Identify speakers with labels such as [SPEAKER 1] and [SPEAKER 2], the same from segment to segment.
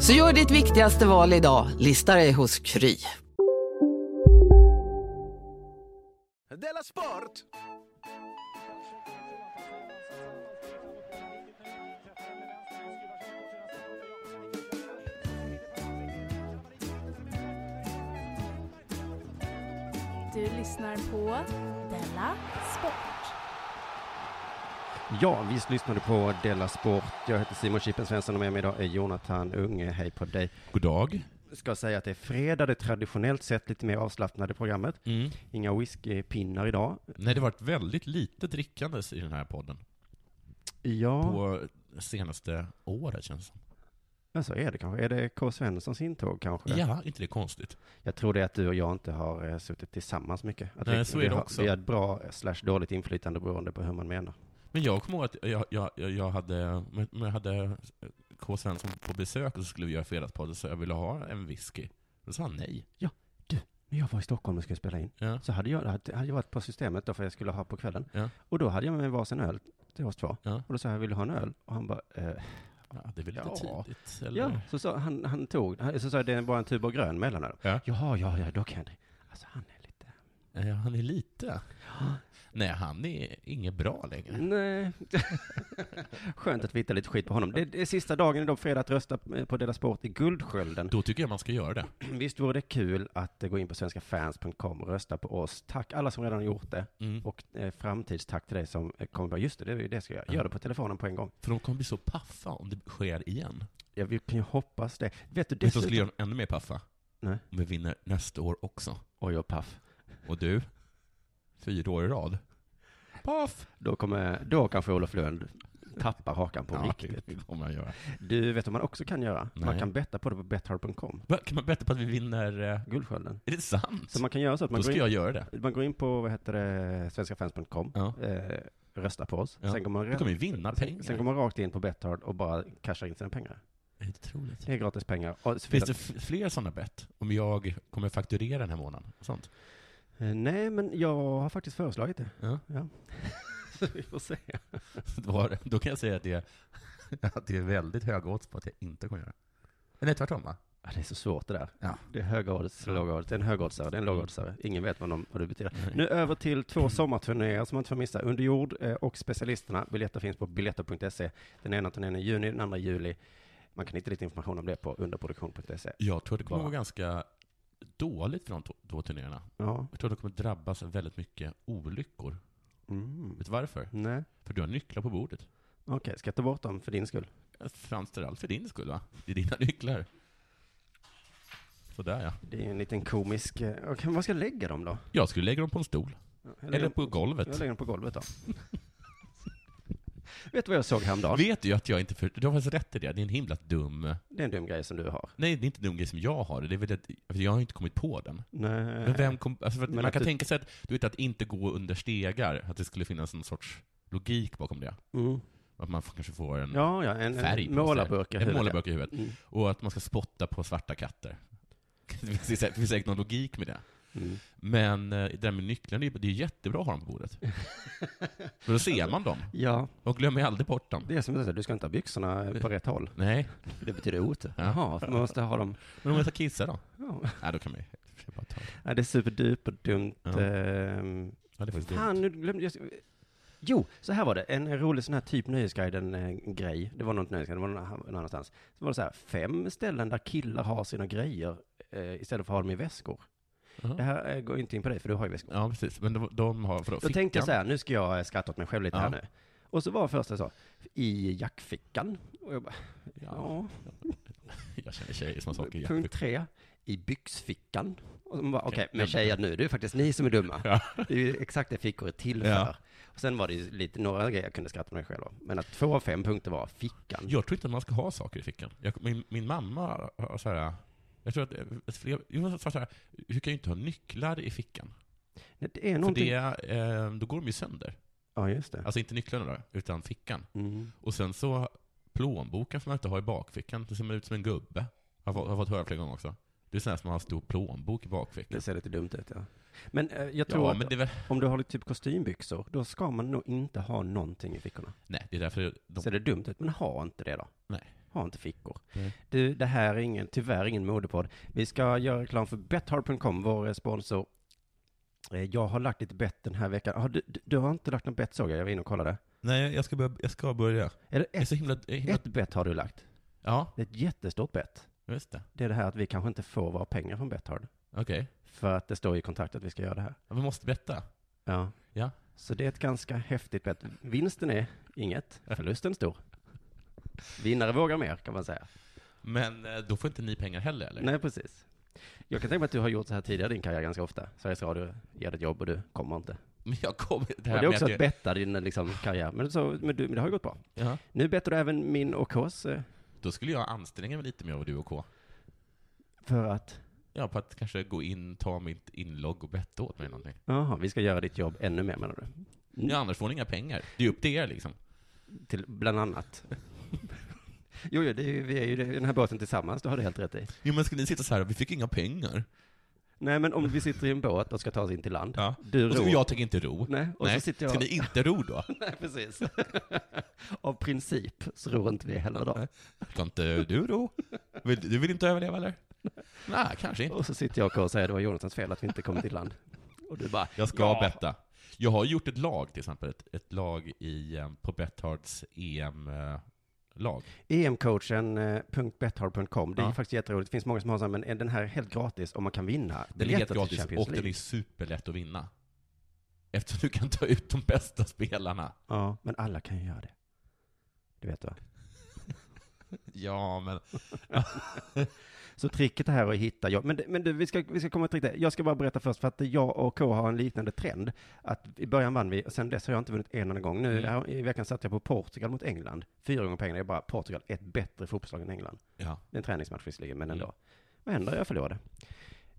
[SPEAKER 1] Så gör ditt viktigaste val idag, listar dig hos Kry.
[SPEAKER 2] Du lyssnar på Della Sport.
[SPEAKER 3] Ja, visst lyssnade på Della Sport. Jag heter Simon Chippen Svensson och med mig idag är Jonathan Unge. Hej på dig.
[SPEAKER 4] God dag.
[SPEAKER 3] Ska säga att det är fredag, det traditionellt sett lite mer avslappnade programmet.
[SPEAKER 4] Mm.
[SPEAKER 3] Inga whiskypinnar idag.
[SPEAKER 4] Nej, det har varit väldigt lite drickandes i den här podden.
[SPEAKER 3] Ja,
[SPEAKER 4] På senaste året känns det som.
[SPEAKER 3] men så är det kanske. Är det K. Svenssons intåg kanske?
[SPEAKER 4] Ja, inte det konstigt?
[SPEAKER 3] Jag tror det är att du och jag inte har eh, suttit tillsammans mycket. Att
[SPEAKER 4] Nej, så är
[SPEAKER 3] vi
[SPEAKER 4] det
[SPEAKER 3] har,
[SPEAKER 4] också.
[SPEAKER 3] Vi har ett bra eh, slash dåligt inflytande beroende på hur man menar.
[SPEAKER 4] Men jag kommer ihåg att jag, jag, jag, jag hade, men- men jag hade K. Svensson på besök och så skulle vi göra fredagspodden, så jag ville ha en whisky. Då sa han nej.
[SPEAKER 3] När jag var i Stockholm och skulle spela in,
[SPEAKER 4] Ja.
[SPEAKER 3] så hade jag, hade hade jag varit på systemet då, för jag skulle ha på kvällen.
[SPEAKER 4] Ja.
[SPEAKER 3] Och då hade jag med mig varsin öl till oss två.
[SPEAKER 4] Ja.
[SPEAKER 3] Och då sa jag, vill du ha en öl? Och han bara, eh,
[SPEAKER 4] Ja, det är väl lite
[SPEAKER 3] Ja.
[SPEAKER 4] tidigt? Eller?
[SPEAKER 3] Ja, så sa han, han tog, han- så sa jag, det är bara en tuber grön mellanöl.
[SPEAKER 4] Ja.
[SPEAKER 3] Jaha, ja, ja, då kan jag det. Alltså han är lite...
[SPEAKER 4] Eh, Han är lite... Nej, han är inget bra längre.
[SPEAKER 3] Nej. Skönt att vi hittar lite skit på honom. Det, det är sista dagen idag, fredag, att rösta eh, på Dela Sport i Guldskölden.
[SPEAKER 4] Då tycker jag man ska göra det.
[SPEAKER 3] Visst vore det kul att eh, gå in på svenskafans.com och rösta på oss. Tack alla som redan har gjort det.
[SPEAKER 4] Mm.
[SPEAKER 3] Och eh, framtidstack till dig som eh, kommer bara, just det, det är ju det jag ska göra. Gör det på telefonen på en gång.
[SPEAKER 4] För de kommer bli så paffa om det sker igen.
[SPEAKER 3] Ja, vi kan ju hoppas det. Vet du,
[SPEAKER 4] Vet du vad som
[SPEAKER 3] dessutom...
[SPEAKER 4] skulle göra dem ännu mer paffa?
[SPEAKER 3] Nej.
[SPEAKER 4] Om vi vinner nästa år också.
[SPEAKER 3] Oj, och paff.
[SPEAKER 4] Och du? Fyra år i rad. Paff!
[SPEAKER 3] Då kommer, då kanske Olof Lund tappar hakan på riktigt.
[SPEAKER 4] det kommer jag göra.
[SPEAKER 3] Du, vet vad man också kan göra? Man
[SPEAKER 4] Nej.
[SPEAKER 3] kan betta på det på betthard.com.
[SPEAKER 4] Va, Kan man betta på att vi vinner... eh,
[SPEAKER 3] Guldskölden.
[SPEAKER 4] Är det sant?
[SPEAKER 3] Så man kan göra så att man
[SPEAKER 4] Då ska
[SPEAKER 3] går in,
[SPEAKER 4] jag göra det.
[SPEAKER 3] man går in på, vad heter det, svenskafans.com,
[SPEAKER 4] Ja.
[SPEAKER 3] eh, röstar på oss.
[SPEAKER 4] Ja.
[SPEAKER 3] Sen, går man
[SPEAKER 4] Då
[SPEAKER 3] ra-
[SPEAKER 4] kommer vi vinna pengar.
[SPEAKER 3] sen, sen går man rakt in på Betthard och bara cashar in sina pengar.
[SPEAKER 4] Det är otroligt.
[SPEAKER 3] Det är gratis pengar. Och så
[SPEAKER 4] Finns det
[SPEAKER 3] finns
[SPEAKER 4] f- fler sådana bett? Om jag kommer fakturera den här månaden? och Sånt.
[SPEAKER 3] det- Eh, Nej, men jag har faktiskt föreslagit det.
[SPEAKER 4] Ja.
[SPEAKER 3] Så vi får se.
[SPEAKER 4] Då, har- då kan jag säga att det, är, att det är väldigt höga odds på att jag inte kommer göra det. Nej, tvärtom va?
[SPEAKER 3] Ja, det är så svårt det där.
[SPEAKER 4] Ja.
[SPEAKER 3] Det är höga odds, låga odds. Det är en högoddsare, det är en lågoddsare. Ingen vet vad, de, vad det betyder.
[SPEAKER 4] Mm. Nej.
[SPEAKER 3] Nu över till två sommarturnéer som man inte får missa. Under jord eh, och Specialisterna. Biljetter finns på biljetter.se. Den ena turnén är i juni, den andra i juli. Man kan hitta lite information om det på underproduktion.se.
[SPEAKER 4] Jag tror det kommer
[SPEAKER 3] Bara.
[SPEAKER 4] vara ganska dåligt för de två- två turnéerna.
[SPEAKER 3] Ja.
[SPEAKER 4] Jag tror det kommer drabbas av väldigt mycket olyckor.
[SPEAKER 3] Mm.
[SPEAKER 4] Vet du varför?
[SPEAKER 3] Nej.
[SPEAKER 4] För du har nycklar på bordet.
[SPEAKER 3] Okej, ska jag ta bort dem för din skull?
[SPEAKER 4] Framför allt för din skull va? Det är dina nycklar. Sådär ja.
[SPEAKER 3] Det är en liten komisk... eh, Okej, men var ska jag lägga dem då?
[SPEAKER 4] Jag skulle lägga dem på en stol.
[SPEAKER 3] Jag lägger,
[SPEAKER 4] Eller
[SPEAKER 3] dem-
[SPEAKER 4] på
[SPEAKER 3] jag
[SPEAKER 4] golvet.
[SPEAKER 3] lägger dem på golvet då. vet du vad jag såg häromdagen?
[SPEAKER 4] Vet du ju att jag inte för... Du har faktiskt rätt i det. Det är en himla dum...
[SPEAKER 3] Det är en dum grej som du har.
[SPEAKER 4] Nej, det är inte dum grej som jag har. Det är väl att... för Jag har inte kommit på den.
[SPEAKER 3] Nej.
[SPEAKER 4] Men vem kom... alltså, för att
[SPEAKER 3] Men
[SPEAKER 4] man
[SPEAKER 3] att
[SPEAKER 4] kan
[SPEAKER 3] du-
[SPEAKER 4] tänka sig att, du vet, att inte gå under stegar, att det skulle finnas någon sorts logik bakom det.
[SPEAKER 3] Mm.
[SPEAKER 4] Att man får- kanske får en
[SPEAKER 3] Ja, ja, en,
[SPEAKER 4] färg på
[SPEAKER 3] en
[SPEAKER 4] sig.
[SPEAKER 3] målarburk i
[SPEAKER 4] En
[SPEAKER 3] huvudet, ja.
[SPEAKER 4] målarburk i huvudet.
[SPEAKER 3] Mm.
[SPEAKER 4] Och att man ska spotta på svarta katter. Det finns säkert- det finns säkert någon logik med det.
[SPEAKER 3] Mm.
[SPEAKER 4] Men eh, det där med nycklarna, det är- det är jättebra att ha dem på bordet. För då ser man dem.
[SPEAKER 3] Ja,
[SPEAKER 4] Och glömmer aldrig bort dem.
[SPEAKER 3] det är som du säger, du ska inte ha byxorna på rätt håll.
[SPEAKER 4] Nej.
[SPEAKER 3] Det betyder otur.
[SPEAKER 4] Ja.
[SPEAKER 3] Jaha, man måste ha dem.
[SPEAKER 4] Men om jag ska kissa då?
[SPEAKER 3] Ja.
[SPEAKER 4] Nej, då kan man ju jag bara ta det.
[SPEAKER 3] Nej, det är superduperdumt.
[SPEAKER 4] Ja.
[SPEAKER 3] ehm.
[SPEAKER 4] Ja, det är faktiskt dumt.
[SPEAKER 3] Fan, nu glömde jag. Jo, så här var det. En rolig sån här typ Nöjesguiden-grej. Det var nog inte Nöjesguiden, det var någon någon annanstans. Så var det så här, fem ställen där killar har sina grejer eh, istället för att ha dem i väskor.
[SPEAKER 4] Jaha.
[SPEAKER 3] Det här eh, går inte in på dig, för du har ju väskor.
[SPEAKER 4] Ja, precis. Men de, de har vadå,
[SPEAKER 3] Då
[SPEAKER 4] fickan?
[SPEAKER 3] tänkte jag så här, nu ska jag eh, skratta åt mig själv lite
[SPEAKER 4] Ja.
[SPEAKER 3] här nu. Och så var första så, i jackfickan. Och jag bara,
[SPEAKER 4] Ja.
[SPEAKER 3] ja.
[SPEAKER 4] Jag känner tjejer som har saker i
[SPEAKER 3] Punkt
[SPEAKER 4] jackfickan.
[SPEAKER 3] tre, i byxfickan. Och så bara, okej,
[SPEAKER 4] Okej,
[SPEAKER 3] men tjejer nu, det är faktiskt ni som är dumma.
[SPEAKER 4] Ja.
[SPEAKER 3] Det är ju exakt det fickor är till
[SPEAKER 4] Ja.
[SPEAKER 3] för. Och sen var det ju lite, några grejer jag kunde skratta åt mig själv om. Men att två av fem punkter var fickan.
[SPEAKER 4] Jag tror inte att man ska ha saker i fickan. Jag, min, min mamma har så här... Jag tror att eh, fler, jag sa så här, du kan ju inte ha nycklar i fickan.
[SPEAKER 3] Nej, det är
[SPEAKER 4] För
[SPEAKER 3] någonting.
[SPEAKER 4] det, eh, då går de ju sönder.
[SPEAKER 3] Ja, just det.
[SPEAKER 4] Alltså inte nycklarna då, utan fickan.
[SPEAKER 3] Mm.
[SPEAKER 4] Och sen så plånboken som man inte har i bakfickan, det ser man ut som en gubbe. Jag har, fått- jag har fått höra flera gånger också. Det är sån här som har en stor plånbok i bakfickan.
[SPEAKER 3] Det ser lite dumt ut, ja. Men eh, jag tror
[SPEAKER 4] Ja,
[SPEAKER 3] att
[SPEAKER 4] men det är väl,
[SPEAKER 3] om du har typ kostymbyxor, då ska man nog inte ha någonting i fickorna.
[SPEAKER 4] nej, det är därför de...
[SPEAKER 3] Ser det dumt ut? Men ha inte det då.
[SPEAKER 4] Nej.
[SPEAKER 3] Ha inte fickor.
[SPEAKER 4] Nej.
[SPEAKER 3] Du, det här är ingen, tyvärr ingen modepodd. Vi ska göra reklam för Bethard.com, vår eh, sponsor. Eh, Jag har lagt lite bett den här veckan. Har du, du, du har inte lagt något bett såg jag, jag var inne och kollade.
[SPEAKER 4] Nej, jag ska börja. Jag ska börja.
[SPEAKER 3] Är det
[SPEAKER 4] Jag är
[SPEAKER 3] ett,
[SPEAKER 4] så himla... Jag är himla
[SPEAKER 3] ett bett har du lagt?
[SPEAKER 4] ja,
[SPEAKER 3] Det är ett jättestort bett.
[SPEAKER 4] just det.
[SPEAKER 3] Det är det här att vi kanske inte får våra pengar från Bethard.
[SPEAKER 4] Okej.
[SPEAKER 3] För att det står i kontraktet att vi ska göra det här.
[SPEAKER 4] Ja, Vi måste betta.
[SPEAKER 3] Ja.
[SPEAKER 4] Ja.
[SPEAKER 3] Så det är ett ganska häftigt bett. Vinsten är inget, förlusten stor. Vinnare vågar mer, kan man säga.
[SPEAKER 4] Men eh, då får inte ni pengar heller, eller?
[SPEAKER 3] Nej, precis. Jag kan tänka mig att du har gjort så här tidigare i din karriär ganska ofta. Sveriges Radio ger dig ett jobb och du kommer inte.
[SPEAKER 4] Men jag kommer... Det
[SPEAKER 3] Det, och
[SPEAKER 4] här
[SPEAKER 3] det är
[SPEAKER 4] med
[SPEAKER 3] också
[SPEAKER 4] att
[SPEAKER 3] att
[SPEAKER 4] jag-
[SPEAKER 3] betta din liksom, karriär. Men, så, men, du, men det har ju gått bra.
[SPEAKER 4] Ja.
[SPEAKER 3] Nu bettar du även min och Ks eh,
[SPEAKER 4] Då skulle jag anstränga mig lite mer av du och K.
[SPEAKER 3] för att,
[SPEAKER 4] Ja, på att kanske gå in, ta mitt inlogg och betta åt mig någonting.
[SPEAKER 3] jaha, vi ska göra ditt jobb ännu mer menar du? Mm.
[SPEAKER 4] Ja, annars får ni inga pengar. Det är upp till er liksom.
[SPEAKER 3] Till, bland annat. jo, jo, det är, ju- vi är ju i den här båten tillsammans, du har du helt rätt i.
[SPEAKER 4] Jo men ska ni sitta så här, vi fick inga pengar.
[SPEAKER 3] Nej, men om vi sitter i en båt och ska ta oss in till land.
[SPEAKER 4] Ja.
[SPEAKER 3] Du
[SPEAKER 4] Och så,
[SPEAKER 3] ror.
[SPEAKER 4] jag tänker inte ro.
[SPEAKER 3] Nej, och så sitter jag...
[SPEAKER 4] Ska ni inte ro då?
[SPEAKER 3] Nej, precis. Av princip så ror inte vi heller då.
[SPEAKER 4] Ska inte du ro? Vill, du vill inte överleva eller? Nej, kanske inte.
[SPEAKER 3] Och så sitter jag och och säger det var Jonathans fel att vi inte kommit till land. Och du bara,
[SPEAKER 4] Jag ska
[SPEAKER 3] Ja.
[SPEAKER 4] betta. Jag har gjort ett lag till exempel, ett, ett lag i, eh, på Bethards EM-lag.
[SPEAKER 3] E eh, emcoachen.bethard.com, det är
[SPEAKER 4] Ja.
[SPEAKER 3] faktiskt jätteroligt. Det finns många som har så här, men den här är helt gratis och man kan vinna
[SPEAKER 4] Den är helt
[SPEAKER 3] biljetter till
[SPEAKER 4] gratis
[SPEAKER 3] Champions
[SPEAKER 4] och den
[SPEAKER 3] League.
[SPEAKER 4] är superlätt att vinna. Eftersom du kan ta ut de bästa spelarna.
[SPEAKER 3] Ja, men alla kan ju göra det. Du vet va?
[SPEAKER 4] Ja, men...
[SPEAKER 3] Så tricket här är att hitta jobb. Men, det- men du, vi ska, vi ska komma till det. Jag ska bara berätta först, för att jag och K har en liknande trend. Att i början vann vi, och sen dess har jag inte vunnit en enda gång. Nu
[SPEAKER 4] Mm.
[SPEAKER 3] här, i veckan satt jag på Portugal mot England. Fyra gånger pengarna. Jag bara, Portugal, ett bättre fotbollslag än England.
[SPEAKER 4] Ja.
[SPEAKER 3] Det är en träningsmatch visserligen, men ändå.
[SPEAKER 4] Mm.
[SPEAKER 3] Vad händer? Jag förlorade.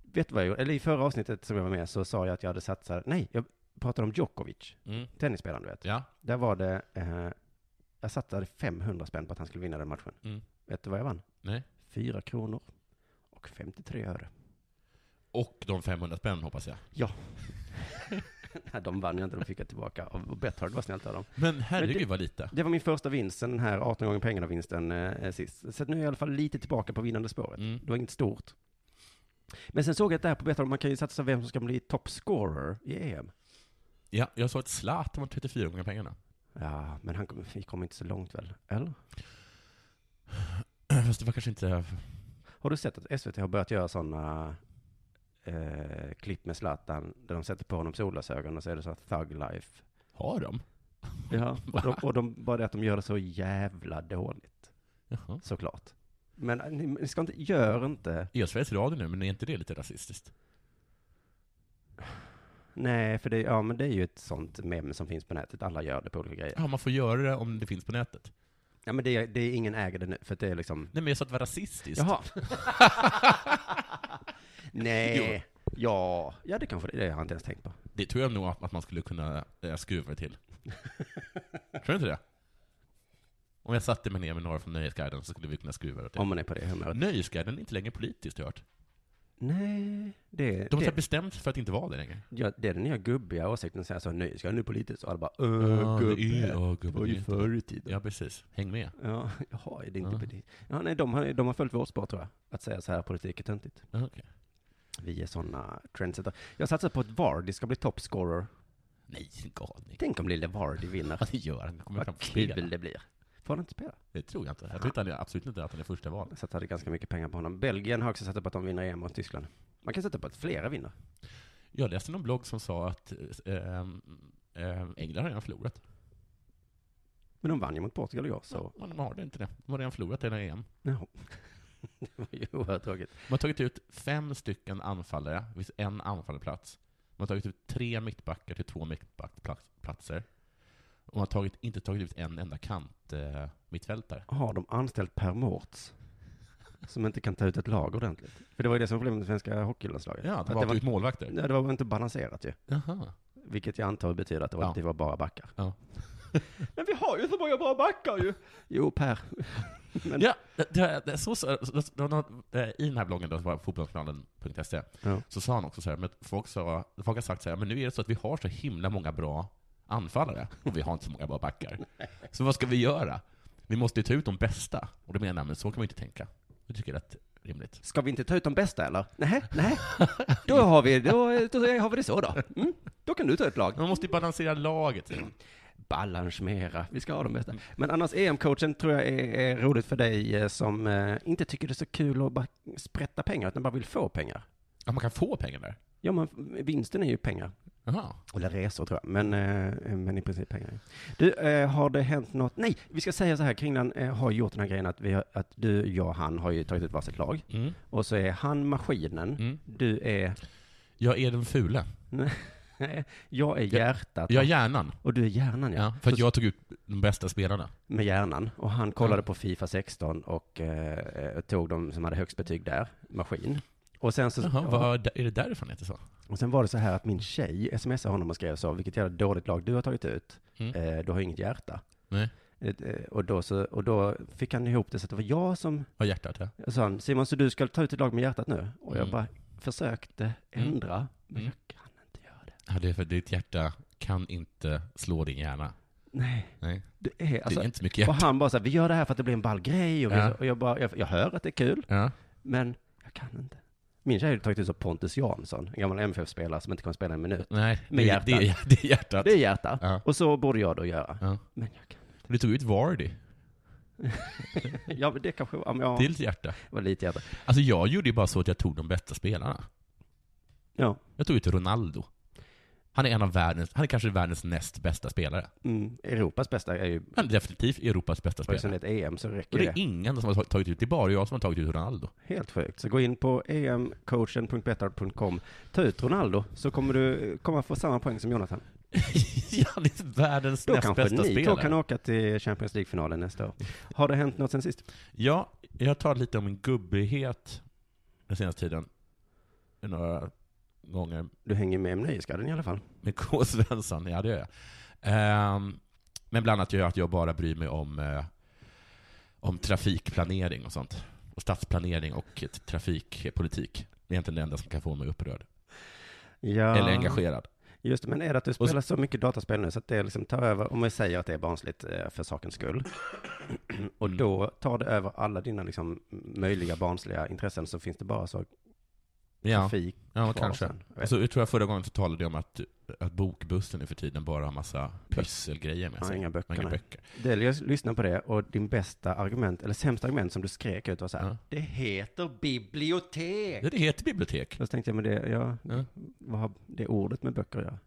[SPEAKER 3] Vet du vad jag gjorde? Eller i förra avsnittet som jag var med så sa jag att jag hade satsat, nej, jag pratade om Djokovic,
[SPEAKER 4] Mm.
[SPEAKER 3] tennisspelaren du vet.
[SPEAKER 4] Ja.
[SPEAKER 3] Där var det, eh, jag satsade 500 spänn på att han skulle vinna den matchen.
[SPEAKER 4] Mm.
[SPEAKER 3] Vet du vad jag vann?
[SPEAKER 4] Nej.
[SPEAKER 3] Fyra kronor och 53 öre.
[SPEAKER 4] Och de 500 spänn hoppas jag.
[SPEAKER 3] Nej, de vann jag inte, de fick jag tillbaka. Och Betthard var snällt av dem.
[SPEAKER 4] Men herregud
[SPEAKER 3] Men det-
[SPEAKER 4] vad lite.
[SPEAKER 3] Det var min första vinst sen den här 18 gånger pengarna-vinsten eh, sist. Så att nu är jag i alla fall lite tillbaka på vinnande spåret.
[SPEAKER 4] Mm.
[SPEAKER 3] Det var inget stort. Men sen såg jag att det här på Betthard, man kan ju satsa vem som ska bli top scorer i E EM.
[SPEAKER 4] Ja, jag sa att Zlatan var 34 gånger pengarna.
[SPEAKER 3] Ja, men han kom, vi kom inte så långt väl? Eller?
[SPEAKER 4] Fast det var kanske inte...
[SPEAKER 3] Har du sett att SVT har börjat göra sådana eh, klipp med Zlatan, där de sätter på honom solglasögon och så är det så här thug life.
[SPEAKER 4] Har de?
[SPEAKER 3] Ja, och de, och de, bara det att de gör det så jävla dåligt,
[SPEAKER 4] Jaha.
[SPEAKER 3] såklart. Men eh, ni, ni ska inte, gör inte
[SPEAKER 4] Är jag Sveriges Radio nu, men är inte det lite rasistiskt?
[SPEAKER 3] Nej, för det, ja, men det är ju ett sånt mem som finns på nätet. Alla gör det på olika grejer.
[SPEAKER 4] Ja, man får göra det om det finns på nätet.
[SPEAKER 3] Ja, men det, det är ingen äger det nu, för att det är liksom...
[SPEAKER 4] Nej, men jag sa att det var rasistiskt.
[SPEAKER 3] Jaha. Nej. Ja, ja, det kanske det är. Det har jag inte ens tänkt på.
[SPEAKER 4] Det tror jag nog att att man skulle kunna eh, skruva det till. tror du inte det? Om jag satte mig ner med några från Nöjesguiden så skulle vi kunna skruva det till.
[SPEAKER 3] Om man är på det humöret.
[SPEAKER 4] Nöjesguiden är inte längre politiskt, har jag hört.
[SPEAKER 3] Nej, det,
[SPEAKER 4] De har
[SPEAKER 3] det,
[SPEAKER 4] så här bestämt sig för att inte vara det längre.
[SPEAKER 3] ja, det är den nya gubbiga åsikten. Säga så, nej, ska jag nu politiskt? Och alla bara, öh,
[SPEAKER 4] Ah, det är-
[SPEAKER 3] gubbe.
[SPEAKER 4] ja,
[SPEAKER 3] Det
[SPEAKER 4] gubben
[SPEAKER 3] var
[SPEAKER 4] är
[SPEAKER 3] ju
[SPEAKER 4] inte-
[SPEAKER 3] förr i tiden.
[SPEAKER 4] Ja, precis. Häng med.
[SPEAKER 3] Ja, jaha, är det inte
[SPEAKER 4] Ja.
[SPEAKER 3] politiskt? Ja, nej, de har, de har följt vårt spår, tror jag. Att säga så här, politik är töntigt.
[SPEAKER 4] Ja, Ah, okej.
[SPEAKER 3] Vi är sådana trendsetter. Jag satsar på att Vardy ska bli topscorer.
[SPEAKER 4] Nej, galning.
[SPEAKER 3] Tänk om lille Vardy vinner.
[SPEAKER 4] Ja, det gör han. Han kommer fram
[SPEAKER 3] Vad
[SPEAKER 4] och spela.
[SPEAKER 3] kul det blir. Får han inte spela?
[SPEAKER 4] Det tror jag inte. Jag tror inte han är, absolut inte att han är första val.
[SPEAKER 3] Jag satsade ganska mycket pengar på honom. Belgien har också satsat på att de vinner EM mot Tyskland. Man kan sätta på att flera vinner.
[SPEAKER 4] Jag läste någon blogg som sa att eh, eh, England har redan förlorat.
[SPEAKER 3] Men de vann ju mot Portugal igår, så...
[SPEAKER 4] Så man har det inte det. De har redan förlorat hela EM.
[SPEAKER 3] Ja. det var ju oerhört tråkigt.
[SPEAKER 4] Man har tagit ut fem stycken anfallare, det finns en anfallarplats. Man har tagit ut tre mittbackar till två mittbackplatser. Och man har tagit, inte tagit ut en enda kant eh, mittfältare.
[SPEAKER 3] Har de anställt Per Mårts? Som inte kan ta ut ett lag ordentligt. För det var ju det som var problemet med svenska hockeylandslaget.
[SPEAKER 4] Ja, typ-
[SPEAKER 3] Att
[SPEAKER 4] de har tagit
[SPEAKER 3] var,
[SPEAKER 4] målvakter.
[SPEAKER 3] ja, det var inte balanserat ju.
[SPEAKER 4] Jaha.
[SPEAKER 3] Vilket jag antar betyder att det var,
[SPEAKER 4] Ja.
[SPEAKER 3] det var bara backar.
[SPEAKER 4] Ja.
[SPEAKER 3] Men vi har ju så många bra backar ju! Jo, Per. Men,
[SPEAKER 4] Ja, det, det, det, så, så, så, det var någon, eh, I den här bloggen, då, som var fotbollskanalen.se,
[SPEAKER 3] Ja.
[SPEAKER 4] så sa han också så här, men folk, sa, folk har sagt så här, men nu är det så att vi har så himla många bra anfallare, och vi har inte så många bra backar. Så vad ska vi göra? Vi måste ju ta ut de bästa. Och då menar jag, men så kan man ju inte tänka. Jag tycker det är rätt rimligt.
[SPEAKER 3] Ska vi inte ta ut de bästa eller? Nej, nej. Då har vi, då, då har vi det så då. Mm. Då kan du ta ett lag.
[SPEAKER 4] Man måste ju balansera laget. säger han.
[SPEAKER 3] Balansmera, vi ska ha de bästa. Men annars EM-coachen tror jag är, är roligt för dig eh, som eh, inte tycker det är så kul att bara sprätta pengar, utan bara vill få pengar.
[SPEAKER 4] Ja, man kan få pengar där.
[SPEAKER 3] Ja, men vinsten är ju pengar.
[SPEAKER 4] Jaha.
[SPEAKER 3] Eller resor tror jag, men, eh, men i princip pengar. Du, eh, har det hänt något? Nej, vi ska säga så här, Kringlan eh, har gjort den här grejen att, vi har, att du, jag och han har ju tagit ut varsitt lag.
[SPEAKER 4] Mm.
[SPEAKER 3] Och så är han maskinen,
[SPEAKER 4] Mm.
[SPEAKER 3] du är...
[SPEAKER 4] Jag är den fule.
[SPEAKER 3] jag är hjärtat
[SPEAKER 4] Jag är hjärnan.
[SPEAKER 3] och du är hjärnan ja.
[SPEAKER 4] Ja, för att jag tog ut de bästa spelarna.
[SPEAKER 3] Med hjärnan. Och han kollade på Fifa 16 och eh, eh, tog de som hade högst betyg där, maskin. Och sen så...
[SPEAKER 4] Jaha, vad, är det därifrån det heter så?
[SPEAKER 3] Och sen var det så här att min tjej smsade honom och skrev så, vilket jävla dåligt lag du har tagit ut.
[SPEAKER 4] Mm.
[SPEAKER 3] Eh, du har inget hjärta.
[SPEAKER 4] Nej.
[SPEAKER 3] Eh, eh, Och då, så, och då fick han ihop det så att det var jag som
[SPEAKER 4] Har hjärtat, ja.
[SPEAKER 3] jag sa han, Simon, så du ska ta ut ett lag med hjärtat nu? Och jag
[SPEAKER 4] Mm.
[SPEAKER 3] bara försökte ändra, men
[SPEAKER 4] Mm.
[SPEAKER 3] jag kan inte göra det.
[SPEAKER 4] Ja, det är för att ditt hjärta kan inte slå din hjärna.
[SPEAKER 3] Nej,
[SPEAKER 4] Nej,
[SPEAKER 3] det är alltså...
[SPEAKER 4] det är inte så mycket
[SPEAKER 3] och
[SPEAKER 4] hjärta.
[SPEAKER 3] han bara så här, vi gör det här för att det blir en ball grej. Och, vi,
[SPEAKER 4] Ja.
[SPEAKER 3] och jag bara, jag, jag hör att det är kul,
[SPEAKER 4] Ja.
[SPEAKER 3] men jag kan inte. Min tjej har tagit ut så Pontus Jansson, en gammal MFF-spelare som inte kommer spela en minut.
[SPEAKER 4] Nej,
[SPEAKER 3] Med
[SPEAKER 4] det,
[SPEAKER 3] hjärtat.
[SPEAKER 4] Det, är- det är hjärtat.
[SPEAKER 3] Det är hjärta.
[SPEAKER 4] Ja.
[SPEAKER 3] Och så borde jag då göra.
[SPEAKER 4] Ja.
[SPEAKER 3] Men jag kan
[SPEAKER 4] Du tog ut Vardy
[SPEAKER 3] inte. Ja, men det kanske var, ja, men jag,
[SPEAKER 4] till hjärta.
[SPEAKER 3] det var lite hjärta.
[SPEAKER 4] Alltså jag gjorde ju bara så att jag tog de bästa spelarna.
[SPEAKER 3] Ja.
[SPEAKER 4] Jag tog ut Ronaldo. Han är en av världens, han är kanske världens näst bästa spelare.
[SPEAKER 3] Mm, Europas bästa är ju,
[SPEAKER 4] Han är definitivt Europas bästa
[SPEAKER 3] och sen
[SPEAKER 4] spelare.
[SPEAKER 3] ett EM så
[SPEAKER 4] Och
[SPEAKER 3] räcker
[SPEAKER 4] det
[SPEAKER 3] det.
[SPEAKER 4] är ingen som har tagit ut, det är bara jag som har tagit ut Ronaldo.
[SPEAKER 3] Helt sjukt. Så gå in på E emcoachen.betard.com, ta ut Ronaldo, så kommer du komma få samma poäng som Jonathan.
[SPEAKER 4] han är världens
[SPEAKER 3] Då
[SPEAKER 4] näst
[SPEAKER 3] kanske
[SPEAKER 4] bästa
[SPEAKER 3] ni två
[SPEAKER 4] spelare.
[SPEAKER 3] kan åka till Champions League-finalen nästa år. Har det hänt något sen sist?
[SPEAKER 4] Ja, jag tar lite om min gubbighet den senaste tiden. Några gånger
[SPEAKER 3] Du hänger med i Nöjesguiden i alla fall.
[SPEAKER 4] med K. Svensson, ja det gör jag. Ehm, men bland annat gör jag att jag bara bryr mig om, eh, om trafikplanering och sånt. Och stadsplanering och ett trafikpolitik. Det är egentligen det enda som kan få mig upprörd.
[SPEAKER 3] Ja,
[SPEAKER 4] Eller engagerad.
[SPEAKER 3] Just det, men är det att du
[SPEAKER 4] så-
[SPEAKER 3] spelar så mycket dataspel nu så att det liksom tar över, om vi säger att det är barnsligt eh, för sakens skull, och då tar det över alla dina liksom möjliga barnsliga intressen så finns det bara så
[SPEAKER 4] Ja,
[SPEAKER 3] trafik
[SPEAKER 4] ja
[SPEAKER 3] kvar
[SPEAKER 4] kanske. Alltså-
[SPEAKER 3] sen. Jag vet
[SPEAKER 4] Och Så jag tror jag förra gången så talade jag om att, att bokbussen nu för tiden bara har massa pysselgrejer med
[SPEAKER 3] Ja,
[SPEAKER 4] sig.
[SPEAKER 3] inga böcker,
[SPEAKER 4] Inga
[SPEAKER 3] nej.
[SPEAKER 4] böcker.
[SPEAKER 3] Det, jag lyssnade Alltså, på det och din bästa argument, eller sämsta argument som du skrek ut var så här,
[SPEAKER 4] Ja.
[SPEAKER 3] det heter bibliotek.
[SPEAKER 4] Ja, det heter bibliotek.
[SPEAKER 3] Då tänkte jag, men det, ja,
[SPEAKER 4] Ja.
[SPEAKER 3] vad har det ordet med böcker att göra?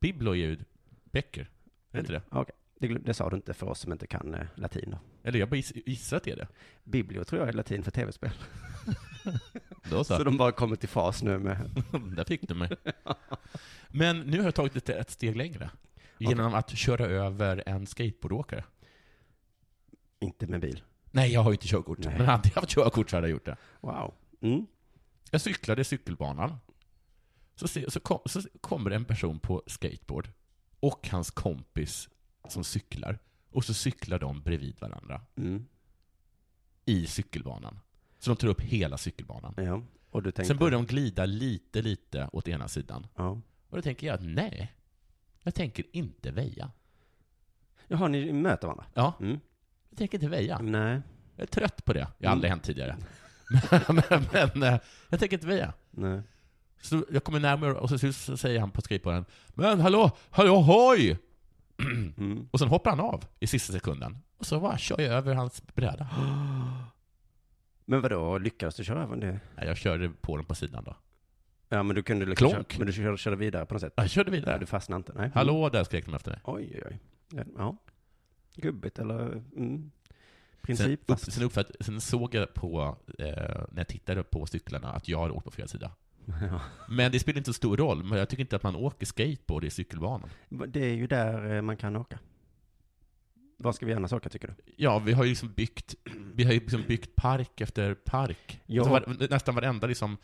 [SPEAKER 4] Biblo är ju böcker. Är det inte det?
[SPEAKER 3] Ja, okej. Det, glöm- det sa du inte för oss som inte kan eh, latin då.
[SPEAKER 4] Eller jag bara giss- gissar att det är det.
[SPEAKER 3] Biblio tror jag är latin för tv-spel.
[SPEAKER 4] Då så.
[SPEAKER 3] Så de bara kommer till fas nu med,
[SPEAKER 4] Där fick du mig. Men nu har jag tagit lite ett steg längre. Genom att köra över en skateboardåkare.
[SPEAKER 3] inte med bil.
[SPEAKER 4] Nej, jag har ju inte körkort.
[SPEAKER 3] Nej.
[SPEAKER 4] Men hade jag haft körkort så hade jag gjort det.
[SPEAKER 3] Wow. Mm.
[SPEAKER 4] Jag cyklade i cykelbanan. Så, se, så, kom, så kommer en person på skateboard och hans kompis som cyklar. Och så cyklar de bredvid varandra
[SPEAKER 3] Mm.
[SPEAKER 4] i cykelbanan. Så de tar upp hela cykelbanan.
[SPEAKER 3] Ja. Och du tänkte,
[SPEAKER 4] Sen börjar de glida lite, lite åt ena sidan.
[SPEAKER 3] ja.
[SPEAKER 4] Och då tänker jag att nej, jag tänker inte väja.
[SPEAKER 3] Jaha, ni möter varandra?
[SPEAKER 4] Ja,
[SPEAKER 3] Mm.
[SPEAKER 4] jag tänker inte väja.
[SPEAKER 3] Nej.
[SPEAKER 4] Jag är trött på det. Jag har aldrig hänt tidigare. men, men, eh, jag tänker inte väja.
[SPEAKER 3] Nej.
[SPEAKER 4] Så jag kommer närmare och så, så, så säger han på skateboarden Men hallå, hallå hoj!
[SPEAKER 3] Mm.
[SPEAKER 4] Och sen hoppar han av i sista sekunden. Och så bara kör jag över hans bräda.
[SPEAKER 3] Men vadå, lyckades du köra även det?
[SPEAKER 4] Nej, Jag körde på den på sidan då.
[SPEAKER 3] Ja, men du kunde liksom
[SPEAKER 4] Klonk.
[SPEAKER 3] köra, men du körde, körde vidare på något sätt.
[SPEAKER 4] Jag körde vidare.
[SPEAKER 3] Nej, du fastnade inte. Nej. Mm.
[SPEAKER 4] Hallå där skrek de efter mig.
[SPEAKER 3] Oj, oj, oj. Ja, Ja. Gubbigt eller mm,
[SPEAKER 4] Sen,
[SPEAKER 3] princip
[SPEAKER 4] upp,
[SPEAKER 3] fast.
[SPEAKER 4] sen, uppfatt, sen såg jag på, eh, när jag tittade på cyklarna, att jag hade åkt på fel sida.
[SPEAKER 3] Ja.
[SPEAKER 4] Men det spelar inte så stor roll, men jag tycker inte att man åker skateboard i cykelbanan.
[SPEAKER 3] Det är ju där eh, man kan åka. Var ska vi annars åka tycker du?
[SPEAKER 4] Ja, vi har ju liksom byggt, vi har ju liksom byggt park efter park.
[SPEAKER 3] Ja.
[SPEAKER 4] Alltså var, nästan varenda, liksom,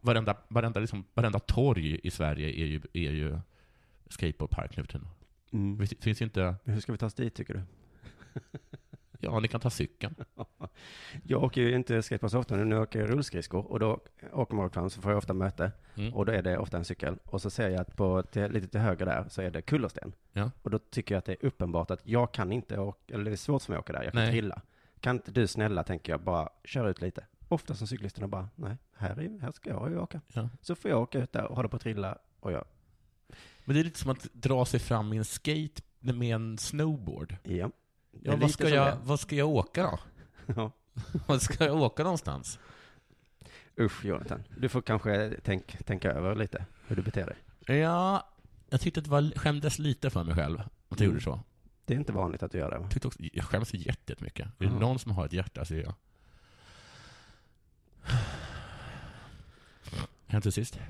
[SPEAKER 4] varenda, varenda, liksom, varenda torg i Sverige är ju, är ju skateboardpark nu för tiden.
[SPEAKER 3] Mm.
[SPEAKER 4] Visst- Finns ju inte,
[SPEAKER 3] Hur ska vi ta oss dit tycker du?
[SPEAKER 4] ja ni kan ta cykeln.
[SPEAKER 3] Jag åker ju inte skateboard så ofta, men nu åker jag rullskridskor och då åker man rakt fram så får jag ofta möte
[SPEAKER 4] Mm.
[SPEAKER 3] och då är det ofta en cykel och så ser jag att på, till, lite till höger där så är det kullersten
[SPEAKER 4] Ja.
[SPEAKER 3] och då tycker jag att det är uppenbart att jag kan inte åka, eller det är svårt för mig att åka där, jag kan
[SPEAKER 4] Nej.
[SPEAKER 3] trilla. Kan inte du snälla, tänker jag, bara köra ut lite? Ofta som cyklisterna bara, nej, här, är, här ska jag ju åka.
[SPEAKER 4] Ja.
[SPEAKER 3] Så får jag åka ut där och hålla på att trilla och jag,
[SPEAKER 4] Men det är lite som att dra sig fram i en skate med en snowboard.
[SPEAKER 3] ja. Det
[SPEAKER 4] Ja,
[SPEAKER 3] är lite
[SPEAKER 4] vad, ska
[SPEAKER 3] som
[SPEAKER 4] jag, vad ska jag åka då?
[SPEAKER 3] det. Ja.
[SPEAKER 4] Vad ska jag åka någonstans?
[SPEAKER 3] Usch, Jonathan. Du får kanske tänk, tänka över lite hur du beter dig.
[SPEAKER 4] Ja, jag tyckte att det var, skämdes lite för mig själv att jag gjorde så.
[SPEAKER 3] Det är inte vanligt att du gör det. va?
[SPEAKER 4] Jag, tyckte också, jag skäms jätte- jättemycket. Är det
[SPEAKER 3] Ja.
[SPEAKER 4] någon som har ett hjärta så är jag. Hänt till sist.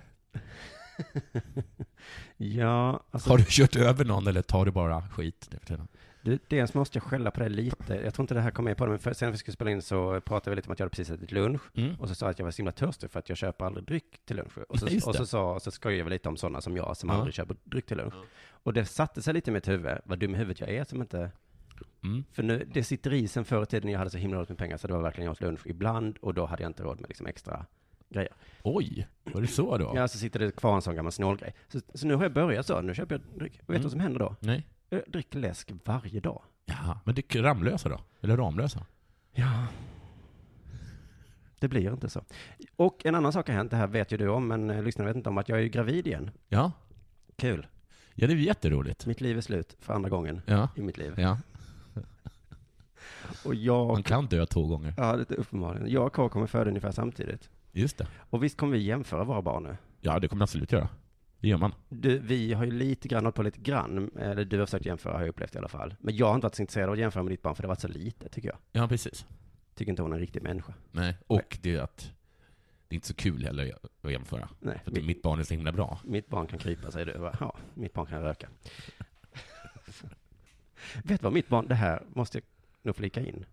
[SPEAKER 3] Ja, alltså,
[SPEAKER 4] Har du kört över någon eller tar du bara skit nu för tiden?
[SPEAKER 3] du, dels måste jag skälla på dig lite. Jag tror inte det här kommer med på det, men för, sen när vi skulle spela in så pratade vi lite om att jag hade precis ätit lunch.
[SPEAKER 4] Mm.
[SPEAKER 3] Och så sa jag att jag var så himla törstig för att jag köper aldrig dryck till lunch. Och
[SPEAKER 4] Just
[SPEAKER 3] så, och
[SPEAKER 4] det.
[SPEAKER 3] så, sa, så skojade vi lite om sådana som jag som
[SPEAKER 4] Ja.
[SPEAKER 3] aldrig köper dryck till lunch. Och det satte sig lite i mitt huvud, vad dum i huvudet jag är som inte...
[SPEAKER 4] Mm.
[SPEAKER 3] För nu, det sitter i sen förr i tiden jag hade så himla dåligt med pengar så det var verkligen jag åt lunch ibland och då hade jag inte råd med liksom extra grejer.
[SPEAKER 4] Oj, var det så då?
[SPEAKER 3] Ja, så sitter det kvar en sån gammal snålgrej. Så, så nu har jag börjat så, nu köper jag dryck. Och vet
[SPEAKER 4] Mm.
[SPEAKER 3] du vad som händer då?
[SPEAKER 4] Nej.
[SPEAKER 3] Jag dricker läsk varje dag.
[SPEAKER 4] Ja, men det är Ramlösa då? Eller Ramlösa?
[SPEAKER 3] Ja. Det blir inte så. Och en annan sak har hänt, det här vet ju du om, men eh, lyssnarna vet inte om, att jag är ju gravid igen.
[SPEAKER 4] Ja,
[SPEAKER 3] Kul.
[SPEAKER 4] ja det är ju jätteroligt.
[SPEAKER 3] Mitt liv är slut för andra gången
[SPEAKER 4] Ja,
[SPEAKER 3] i mitt liv.
[SPEAKER 4] ja.
[SPEAKER 3] Och jag...
[SPEAKER 4] Man kan dö två gånger.
[SPEAKER 3] Ja, det är uppenbarligen. Jag och K kommer föda ungefär samtidigt.
[SPEAKER 4] Just det.
[SPEAKER 3] Och visst kommer vi jämföra våra barn nu?
[SPEAKER 4] Ja, det kommer man absolut göra. Det gör man.
[SPEAKER 3] Du, vi har ju lite grann hållit på lite grann, eller du har försökt jämföra har jag upplevt i alla fall. Men jag har inte varit så intresserad av att jämföra med ditt barn för det har varit så lite tycker jag.
[SPEAKER 4] Ja, precis.
[SPEAKER 3] Tycker inte hon är en riktig människa.
[SPEAKER 4] Nej. Och det är att det är inte så kul heller att jämföra.
[SPEAKER 3] Nej,
[SPEAKER 4] För att
[SPEAKER 3] mitt,
[SPEAKER 4] mitt barn är så himla bra.
[SPEAKER 3] mitt barn kan krypa säger du. Va? Ja, mitt barn kan röka. Vet du vad mitt barn, det här måste jag nog flika in.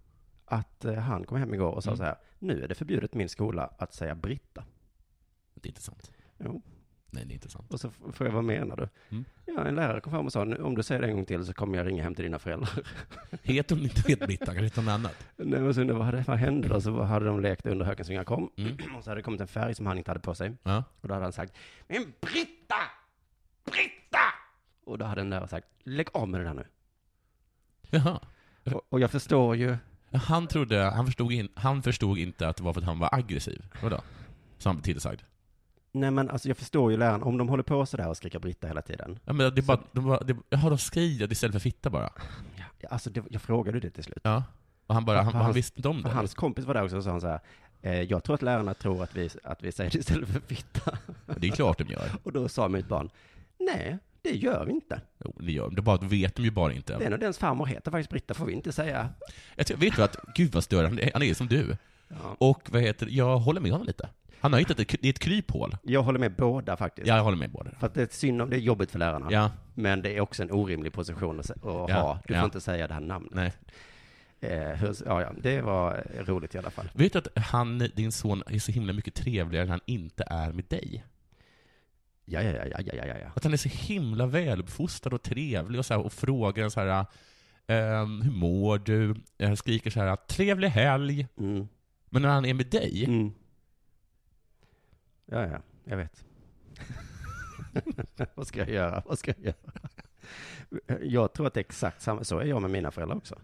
[SPEAKER 3] Att eh, han kom hem igår och sa
[SPEAKER 4] Mm.
[SPEAKER 3] så här, nu är det förbjudet i min skola att säga Britta.
[SPEAKER 4] Det är inte sant.
[SPEAKER 3] Jo.
[SPEAKER 4] Nej, det är inte sant.
[SPEAKER 3] Och så f- frågade jag, vad menar du?
[SPEAKER 4] Mm.
[SPEAKER 3] Ja, en lärare kom fram och sa, "Nu, om du säger det en gång till så kommer jag ringa hem till dina föräldrar.
[SPEAKER 4] Heter hon inte Britta, kan det heta något annat?
[SPEAKER 3] Nej, men så undrade jag, vad, hade- vad hände då? Så hade de lekt under hökens vingar kom.
[SPEAKER 4] Mm.
[SPEAKER 3] Och så hade det kommit en färg som han inte hade på sig.
[SPEAKER 4] Ja.
[SPEAKER 3] Och då hade han sagt, men Britta! Britta! Och då hade en lärare sagt, lägg av med det där nu.
[SPEAKER 4] Jaha.
[SPEAKER 3] Och, och jag förstår ju.
[SPEAKER 4] Han trodde, han förstod, in, han förstod inte att det var för att han var aggressiv. Vadå? Så han blev tillsagd.
[SPEAKER 3] Nej men alltså jag förstår ju läraren, om de håller på sådär och skriker Britta hela tiden.
[SPEAKER 4] Ja, men det är bara, de bara, det, jaha, de skriver det istället för fitta bara.
[SPEAKER 3] Ja, Alltså det, jag frågade ju det till slut.
[SPEAKER 4] Ja. Och han bara, han,
[SPEAKER 3] Hans-
[SPEAKER 4] han visste inte om
[SPEAKER 3] För
[SPEAKER 4] det.
[SPEAKER 3] hans kompis var där också och sa han så här, eh, jag tror att lärarna tror att vi, att vi säger det istället för fitta.
[SPEAKER 4] Det är klart de gör.
[SPEAKER 3] Och då sa mitt barn, nej det gör vi inte.
[SPEAKER 4] Jo, det gör de. Det bara vet de ju bara inte.
[SPEAKER 3] Den och dens farmor heter faktiskt Britta, får vi inte säga.
[SPEAKER 4] Jag tror, vet du att, gud vad störande, han är som du.
[SPEAKER 3] Ja.
[SPEAKER 4] Och vad heter jag håller med honom lite. Han har hittat ett, det är ett kryphål.
[SPEAKER 3] Jag håller med båda faktiskt.
[SPEAKER 4] Ja, jag håller med båda.
[SPEAKER 3] För att det är synd om, det är jobbigt för lärarna.
[SPEAKER 4] Ja,
[SPEAKER 3] Men det är också en orimlig position att, se- att ha. Du
[SPEAKER 4] ja.
[SPEAKER 3] får inte säga det här namnet.
[SPEAKER 4] nej.
[SPEAKER 3] Eh, hur, ja, ja, det var roligt i alla fall.
[SPEAKER 4] Vet du att han, din son är så himla mycket trevligare när han inte är med dig?
[SPEAKER 3] Ja, ja, ja, ja, ja, ja, ja.
[SPEAKER 4] Att han är så himla väluppfostrad och trevlig och, så här, och frågar så här, ehm, hur mår du? Eh, Skriker så här, trevlig helg.
[SPEAKER 3] Mm.
[SPEAKER 4] Men när han är med dig,
[SPEAKER 3] Mm. Ja, ja, jag vet. Vad ska jag göra? Vad ska jag göra? Jag tror att det är exakt samma. Så är jag med mina föräldrar också.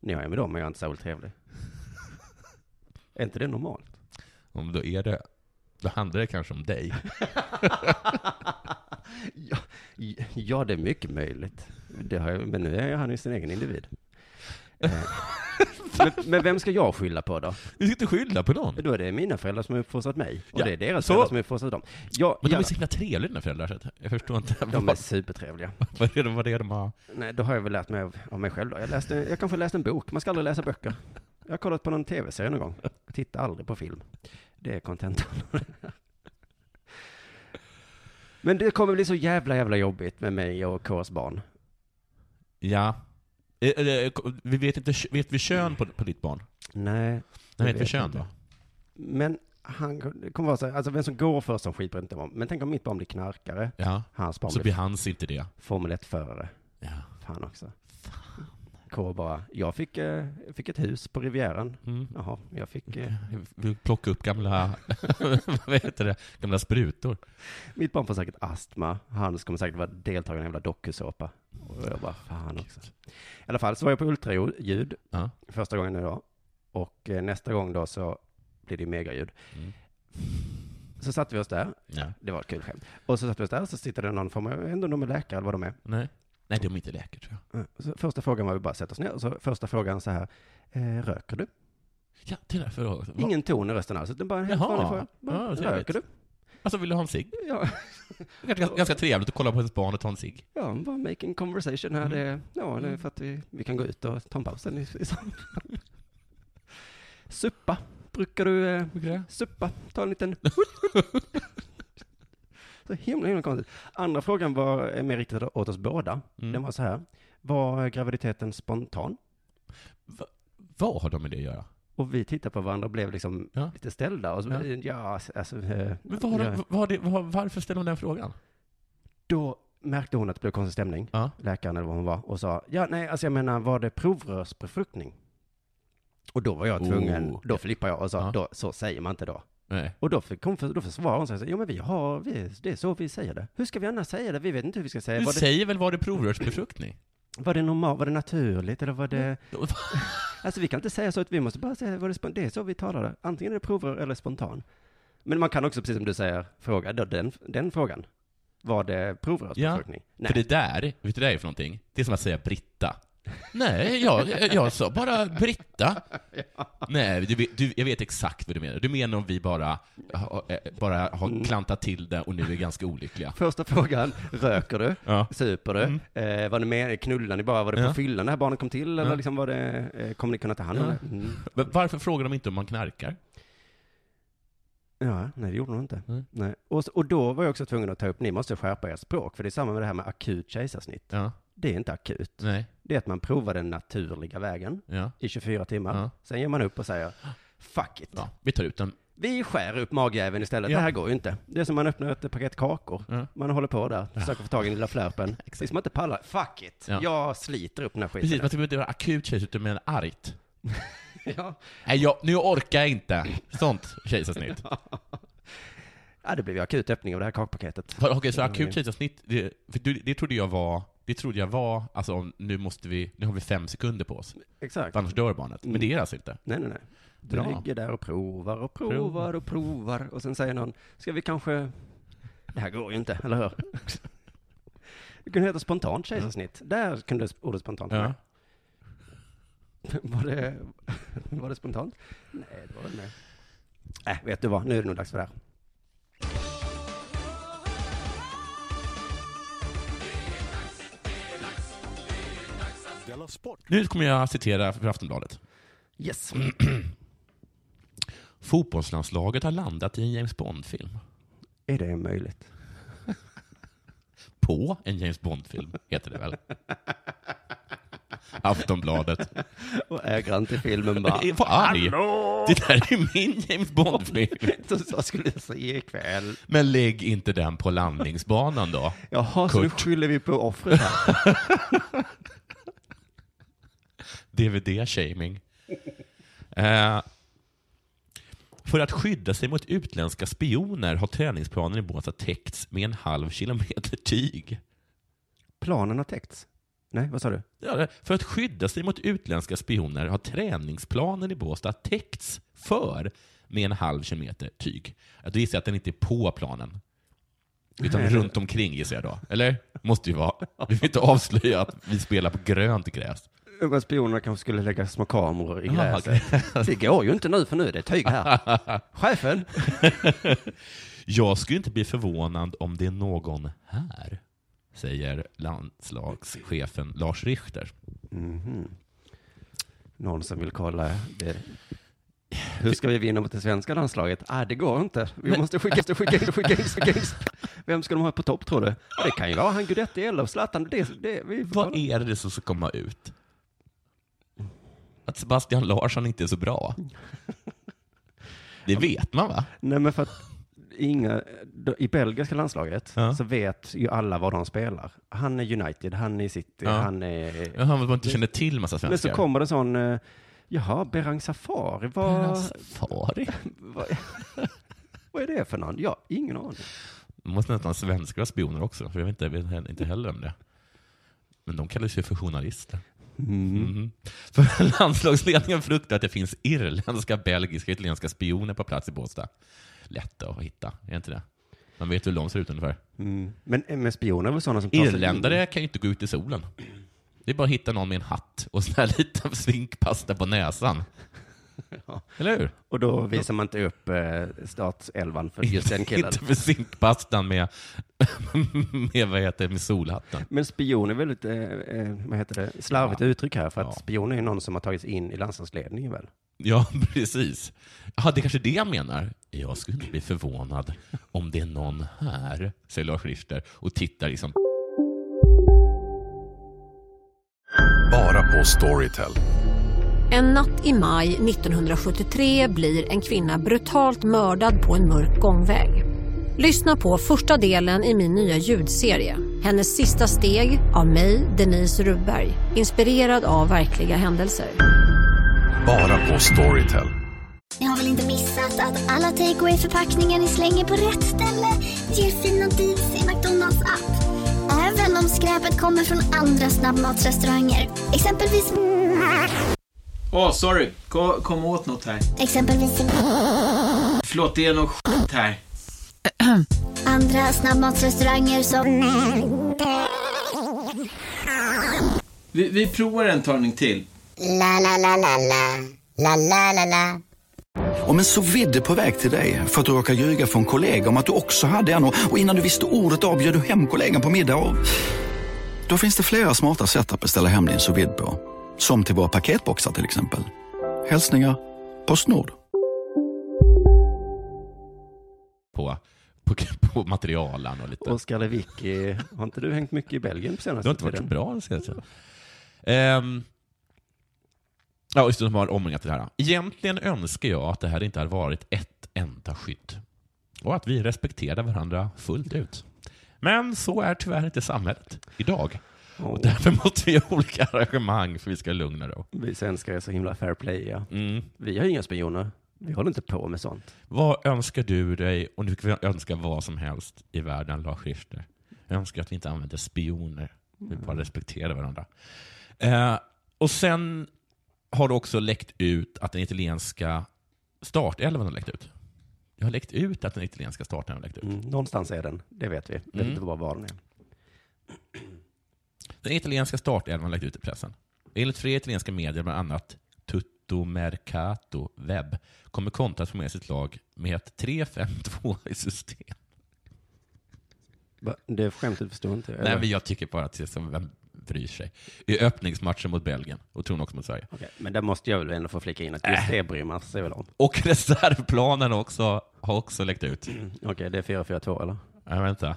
[SPEAKER 3] När jag är med dem är jag inte särskilt trevlig. Är inte det normalt?
[SPEAKER 4] om då är det, då handlar det kanske om dig.
[SPEAKER 3] ja, ja, det är mycket möjligt. Det har jag, men nu är han ju sin egen individ. Eh, Men, men vem ska jag skylla på då?
[SPEAKER 4] Du ska inte skylla på någon.
[SPEAKER 3] Då är det mina föräldrar som har uppfostrat mig, och
[SPEAKER 4] Ja,
[SPEAKER 3] det är deras
[SPEAKER 4] så.
[SPEAKER 3] föräldrar som har uppfostrat dem. Jag,
[SPEAKER 4] Men de är
[SPEAKER 3] gärna.
[SPEAKER 4] så himla trevliga dina föräldrar, så att jag förstår inte
[SPEAKER 3] de är
[SPEAKER 4] vad,
[SPEAKER 3] supertrevliga.
[SPEAKER 4] vad, är det, vad det är de har...
[SPEAKER 3] Nej, då har jag väl lärt mig av, av mig själv då. Jag, läste, jag kanske läste en bok, man ska aldrig läsa böcker. Jag har kollat på någon tv-serie någon gång. Titta aldrig på film. Det är kontentan. Men det kommer bli så jävla, jävla jobbigt med mig och Ks barn.
[SPEAKER 4] Ja. Eh, eh, Vi vet inte, vet vi kön på, på ditt barn?
[SPEAKER 3] Nej,
[SPEAKER 4] Nej,
[SPEAKER 3] Jag
[SPEAKER 4] vet vi
[SPEAKER 3] vet
[SPEAKER 4] kön
[SPEAKER 3] inte.
[SPEAKER 4] då?
[SPEAKER 3] men han det kommer vara så här, alltså vem som går först som skit bryr jag mig inte om. Men tänk om mitt barn blir knarkare,
[SPEAKER 4] Ja.
[SPEAKER 3] hans barn
[SPEAKER 4] Så
[SPEAKER 3] blir
[SPEAKER 4] blir hans inte det.
[SPEAKER 3] Formel 1-förare.
[SPEAKER 4] Ja.
[SPEAKER 3] Alltså, Fan också. K bara, jag fick, eh, fick ett hus på Rivieran.
[SPEAKER 4] Mm.
[SPEAKER 3] Jaha, jag fick... Eh,
[SPEAKER 4] Vi plockar upp gamla, vad heter det, gamla sprutor.
[SPEAKER 3] Mitt barn får säkert astma. Han kommer säkert vara deltagare i en jävla dokusåpa. Och jag bara, fan också. I alla fall så var jag på ultraljud
[SPEAKER 4] Ja.
[SPEAKER 3] första gången idag. Och eh, nästa gång då så blir det ju megaljud.
[SPEAKER 4] Mm.
[SPEAKER 3] Så satte vi oss där.
[SPEAKER 4] Ja.
[SPEAKER 3] Det var ett kul skämt. Och så satte vi oss där så sitter det någon form av, jag vet inte om de är läkare eller vad de är.
[SPEAKER 4] Nej. Nej, de är inte läkare tror jag.
[SPEAKER 3] Mm. Så första frågan var vi bara sätter oss ner. Och så första frågan så här, eh, röker du?
[SPEAKER 4] Ja, det är därför. Va-
[SPEAKER 3] Ingen ton i rösten alls, utan bara en helt
[SPEAKER 4] Jaha.
[SPEAKER 3] vanlig fråga. Bara,
[SPEAKER 4] Ja, trevligt.
[SPEAKER 3] röker du?
[SPEAKER 4] Alltså, vill du ha en cigg?
[SPEAKER 3] Ja.
[SPEAKER 4] Ganska, ganska trevligt att kolla på ens barn och ta en cigg.
[SPEAKER 3] Ja, bara making conversation
[SPEAKER 4] Mm.
[SPEAKER 3] här. Det, ja, det är för att vi, vi kan gå ut och ta en paus sen i, i sommar. Suppa, brukar du eh, suppa? Ta en liten... så himla, himla konstigt. Andra frågan var eh, mer riktad åt oss båda.
[SPEAKER 4] Mm.
[SPEAKER 3] Den var så här. Var graviditeten spontan?
[SPEAKER 4] Vad har de med det att göra?
[SPEAKER 3] Och vi tittade på varandra och blev liksom
[SPEAKER 4] Ja.
[SPEAKER 3] lite ställda. Och så,
[SPEAKER 4] Ja.
[SPEAKER 3] ja. alltså, eh,
[SPEAKER 4] Men vad har de,
[SPEAKER 3] ja.
[SPEAKER 4] vad har det, vad, har- varför ställer de den frågan?
[SPEAKER 3] Då märkte hon att det blev konstig stämning.
[SPEAKER 4] Ja.
[SPEAKER 3] läkaren eller vad hon var och sa, ja nej, alltså jag menar, var det provrörsbefruktning? Och då var jag tvungen,
[SPEAKER 4] Oh.
[SPEAKER 3] då flippade jag och sa,
[SPEAKER 4] Ja.
[SPEAKER 3] då, så säger man inte då.
[SPEAKER 4] Nej.
[SPEAKER 3] Och då, fick, hon för, då försvarade hon sig, så, jo men vi har, vi, det är så vi säger det. Hur ska vi annars säga det? Vi vet inte hur vi ska säga.
[SPEAKER 4] Du
[SPEAKER 3] Var det,
[SPEAKER 4] säger väl var det provrörsbefruktning?
[SPEAKER 3] var det normalt, var det naturligt eller var det,
[SPEAKER 4] Mm. Då-
[SPEAKER 3] alltså vi kan inte säga så att vi måste bara säga, var det, spon- det är så vi talar det. Antingen är det provrör eller spontan. Men man kan också, precis som du säger, fråga då den, den frågan. Var det provrörsbefruktning?
[SPEAKER 4] För
[SPEAKER 3] Nej.
[SPEAKER 4] det där, vet du vad det är för någonting? Det är som att säga Britta. Nej, jag, jag- jag sa bara Britta. Nej, du, vet- du, jag vet exakt vad du menar. Du menar om vi bara, ha- eh, bara har klantat till det och nu är ganska olyckliga.
[SPEAKER 3] Första frågan, röker du?
[SPEAKER 4] Ja.
[SPEAKER 3] Super du? Eh, var det med, knullar ni bara? Var det
[SPEAKER 4] Mm. Ja.
[SPEAKER 3] på fyllan det här barnet kom till? Eller
[SPEAKER 4] Ja.
[SPEAKER 3] liksom var det, eh, kommer ni kunna ta hand om
[SPEAKER 4] Ja.
[SPEAKER 3] det? Mm.
[SPEAKER 4] Men varför frågar de inte om man knarkar?
[SPEAKER 3] Ja, nej det gjorde de inte.
[SPEAKER 4] Nej.
[SPEAKER 3] Nej. Och, så- och då var jag också tvungen att ta upp, ni måste skärpa ert språk, för det är samma med det här med akut kejsarsnitt.
[SPEAKER 4] Ja.
[SPEAKER 3] Det är inte akut.
[SPEAKER 4] Nej.
[SPEAKER 3] Det är att man provar den naturliga vägen
[SPEAKER 4] Ja.
[SPEAKER 3] i 24 timmar.
[SPEAKER 4] Ja.
[SPEAKER 3] Sen ger man upp och säger, fuck it.
[SPEAKER 4] ja. Vi tar ut den.
[SPEAKER 3] Vi skär upp magjäveln istället.
[SPEAKER 4] Ja.
[SPEAKER 3] Det här går ju inte. Det är som man öppnar ett paket kakor.
[SPEAKER 4] Ja.
[SPEAKER 3] Man håller på där, försöker få tag i den lilla flärpen. Tills man inte pallar. Fuck it.
[SPEAKER 4] Ja.
[SPEAKER 3] Jag sliter upp den här skiten.
[SPEAKER 4] Precis, man tycker inte det var akut kejsarsnitt, utan menar argt.
[SPEAKER 3] Ja.
[SPEAKER 4] Nej, jag, nu orkar jag inte. Sånt kejsarsnitt.
[SPEAKER 3] ja, det blev ju akut öppning av det här kakpaketet.
[SPEAKER 4] För- Okej, så akut kejsarsnitt, det, för du- det trodde jag var, det trodde jag var, alltså om- nu måste vi, nu har vi fem sekunder på oss.
[SPEAKER 3] Exakt.
[SPEAKER 4] För annars dör barnet. Men det är det alltså inte.
[SPEAKER 3] Nej, nej, nej. Du
[SPEAKER 4] Bra.
[SPEAKER 3] ligger där och provar och provar och provar och sen säger någon, ska vi kanske... Det här går ju inte, eller hur? Det kunde heta spontant kejsarsnitt. Där kunde ordet spontant vara.
[SPEAKER 4] Ja.
[SPEAKER 3] Var det, var det spontant? Nej, det var det inte. Nej, Äh, vet du vad? Nu är det nog dags för det här.
[SPEAKER 4] Nu kommer jag citera för Aftonbladet.
[SPEAKER 3] Yes.
[SPEAKER 4] Fotbollslandslaget har landat i en James Bond-film.
[SPEAKER 3] Är det möjligt?
[SPEAKER 4] På en James Bond-film, heter det väl? Aftonbladet.
[SPEAKER 3] Och ägaren till filmen bara,
[SPEAKER 4] Vad arg! Det där är min James Bond-film.
[SPEAKER 3] så så skulle jag säga ikväll.
[SPEAKER 4] Men lägg inte den på landningsbanan då.
[SPEAKER 3] Jaha, så nu
[SPEAKER 4] Kurt.
[SPEAKER 3] skyller vi på offret här.
[SPEAKER 4] DVD-shaming. Eh, för att skydda sig mot utländska spioner har träningsplanen i Båstad täckts med en halv kilometer tyg.
[SPEAKER 3] Planen har täckts. Nej, vad sa du?
[SPEAKER 4] Ja, för att skydda sig mot utländska spioner har träningsplanen i Båstad täckts för med en halv kilometer tyg. Då gissar jag att den inte är på planen. Utan runt omkring gissar jag då. Eller? Måste ju vara. Vi vill inte avslöja att vi spelar på grönt gräs.
[SPEAKER 3] Men spionerna kanske skulle lägga små kameror i
[SPEAKER 4] Ja,
[SPEAKER 3] gräset. Det går ju inte nu, för nu är det tyg här. Chefen!
[SPEAKER 4] Jag skulle inte bli förvånad om det är någon här, säger landslagschefen Lars Richter.
[SPEAKER 3] Mhm. Någon som vill kolla det. Hur ska vi vinna mot det svenska landslaget? Ah, det går inte. Vi måste skicka in, skicka in, skicka in, skicka in. Vem ska de ha på topp, tror du? Ja, Det kan ju vara han Guidetti eller Zlatan. Det, det, vi får
[SPEAKER 4] Vad
[SPEAKER 3] kolla.
[SPEAKER 4] är det som ska komma ut? Att Sebastian Larsson inte är så bra? Det vet man va?
[SPEAKER 3] Nej, men för att inga, då- i belgiska landslaget
[SPEAKER 4] Ja.
[SPEAKER 3] så vet ju alla vad de spelar. Han är United, han är City,
[SPEAKER 4] Ja.
[SPEAKER 3] han är...
[SPEAKER 4] Jaha, men man inte känner till massa
[SPEAKER 3] Men så
[SPEAKER 4] svenskar.
[SPEAKER 3] kommer det sån, eh, jaha, Berang Safari, vad,
[SPEAKER 4] Deras Safari?
[SPEAKER 3] vad, vad är det för någon? Ja, ingen aning.
[SPEAKER 4] Det måste nästan svenskar vara spioner också, för jag vet inte, jag vet inte heller om det. Men de kallar sig för journalister.
[SPEAKER 3] Mm.
[SPEAKER 4] Mhm. För landslagsledningen fruktar att det finns irländska, belgiska och italienska spioner på plats i Båstad. Lätta att hitta, är inte det? Man vet hur de ser ut ungefär.
[SPEAKER 3] Mm. Men, eh, men spioner är väl sådana som tar sig in?
[SPEAKER 4] Irländare kan ju inte gå ut i solen. Det är bara att hitta någon med en hatt och sån här liten svinkpasta på näsan. Eller hur?
[SPEAKER 3] Och då visar man inte upp eh, startselvan för just den killen.
[SPEAKER 4] inte för zinkpastan med, med, vad heter, det, med solhatten.
[SPEAKER 3] Men spion är väldigt, eh, eh, vad heter det, slarvigt
[SPEAKER 4] Ja.
[SPEAKER 3] uttryck här, för att
[SPEAKER 4] Ja.
[SPEAKER 3] spion är ju någon som har tagits in i landslagsledningen väl?
[SPEAKER 4] Ja, precis. Ja, det är kanske är det jag menar. Jag skulle inte bli förvånad om det är någon här, säger Lars Richter och tittar liksom.
[SPEAKER 5] Bara på Storytel.
[SPEAKER 6] En natt i maj 1973 blir en kvinna brutalt mördad på en mörk gångväg. Lyssna på första delen i min nya ljudserie. Hennes sista steg av mig, Denise Rubberg. Inspirerad av verkliga händelser.
[SPEAKER 5] Bara på Storytel.
[SPEAKER 6] Ni har väl inte missat att alla takeaway förpackningar ni slänger på rätt ställe ger fina deals i McDonalds app. Även om skräpet kommer från andra snabbmatsrestauranger. Exempelvis...
[SPEAKER 7] Åh, sorry. Kom, kom åt något här.
[SPEAKER 6] Exempelvis...
[SPEAKER 7] Förlåt, det är något skit här.
[SPEAKER 6] Andra snabbmatsrestauranger som...
[SPEAKER 7] Vi, vi provar en talning till.
[SPEAKER 5] Om en så vidde på väg till dig för att du råkar ljuga från kollega om att du också hade en och och innan du visste ordet av bjöd du hem kollegan på middag och... Då finns det flera smarta sätt att beställa hem din sous vide på. Som till våra paketboxar till exempel. Hälsningar Postnord.
[SPEAKER 4] På, på, på materialen och lite.
[SPEAKER 3] Oskar Lewicki, har inte du hängt mycket i Belgien på
[SPEAKER 4] Det
[SPEAKER 3] senaste
[SPEAKER 4] har inte varit så bra den senaste tiden. Ehm, Ja, just det, de har omringat det här. Egentligen önskar jag att det här inte hade varit ett enda skydd. Och att vi respekterade varandra fullt ut. Men så är tyvärr inte samhället idag. Och därför måste vi göra olika arrangemang för att vi ska lugna då.
[SPEAKER 3] Vi svenskar är så himla fair play, ja.
[SPEAKER 4] Mm.
[SPEAKER 3] Vi har inga spioner. Vi håller inte på med sånt.
[SPEAKER 4] Vad önskar du dig, och du kan önska vad som helst i världen, Lars Richter. Jag önskar att vi inte använder spioner. Vi bara respekterar varandra. Eh, och sen har det också läckt ut att den italienska startelvan har läckt ut. Det har läckt ut att den italienska startelvan har läckt ut.
[SPEAKER 3] Mm. Någonstans är den, det vet vi.
[SPEAKER 4] Mm.
[SPEAKER 3] Vet inte bara var den är.
[SPEAKER 4] Den italienska startelvan har läckt ut i pressen. Enligt flera italienska medier, bland annat Tutto Mercato Web, kommer Conte att få med sitt lag med ett 3-5-2 i system.
[SPEAKER 3] Va? Det skämtet förstår inte jag.
[SPEAKER 4] Nej,
[SPEAKER 3] Eller?
[SPEAKER 4] men jag tycker bara att det är som vem bryr sig. I öppningsmatchen mot Belgien, och tror också mot Sverige.
[SPEAKER 3] Okej, men där måste jag väl ändå få flika in att just
[SPEAKER 4] Äh.
[SPEAKER 3] det bryr man sig väl om.
[SPEAKER 4] Och reservplanen också, har också läckt ut.
[SPEAKER 3] Okej, det är 4-4-2 eller?
[SPEAKER 4] Nej, vänta.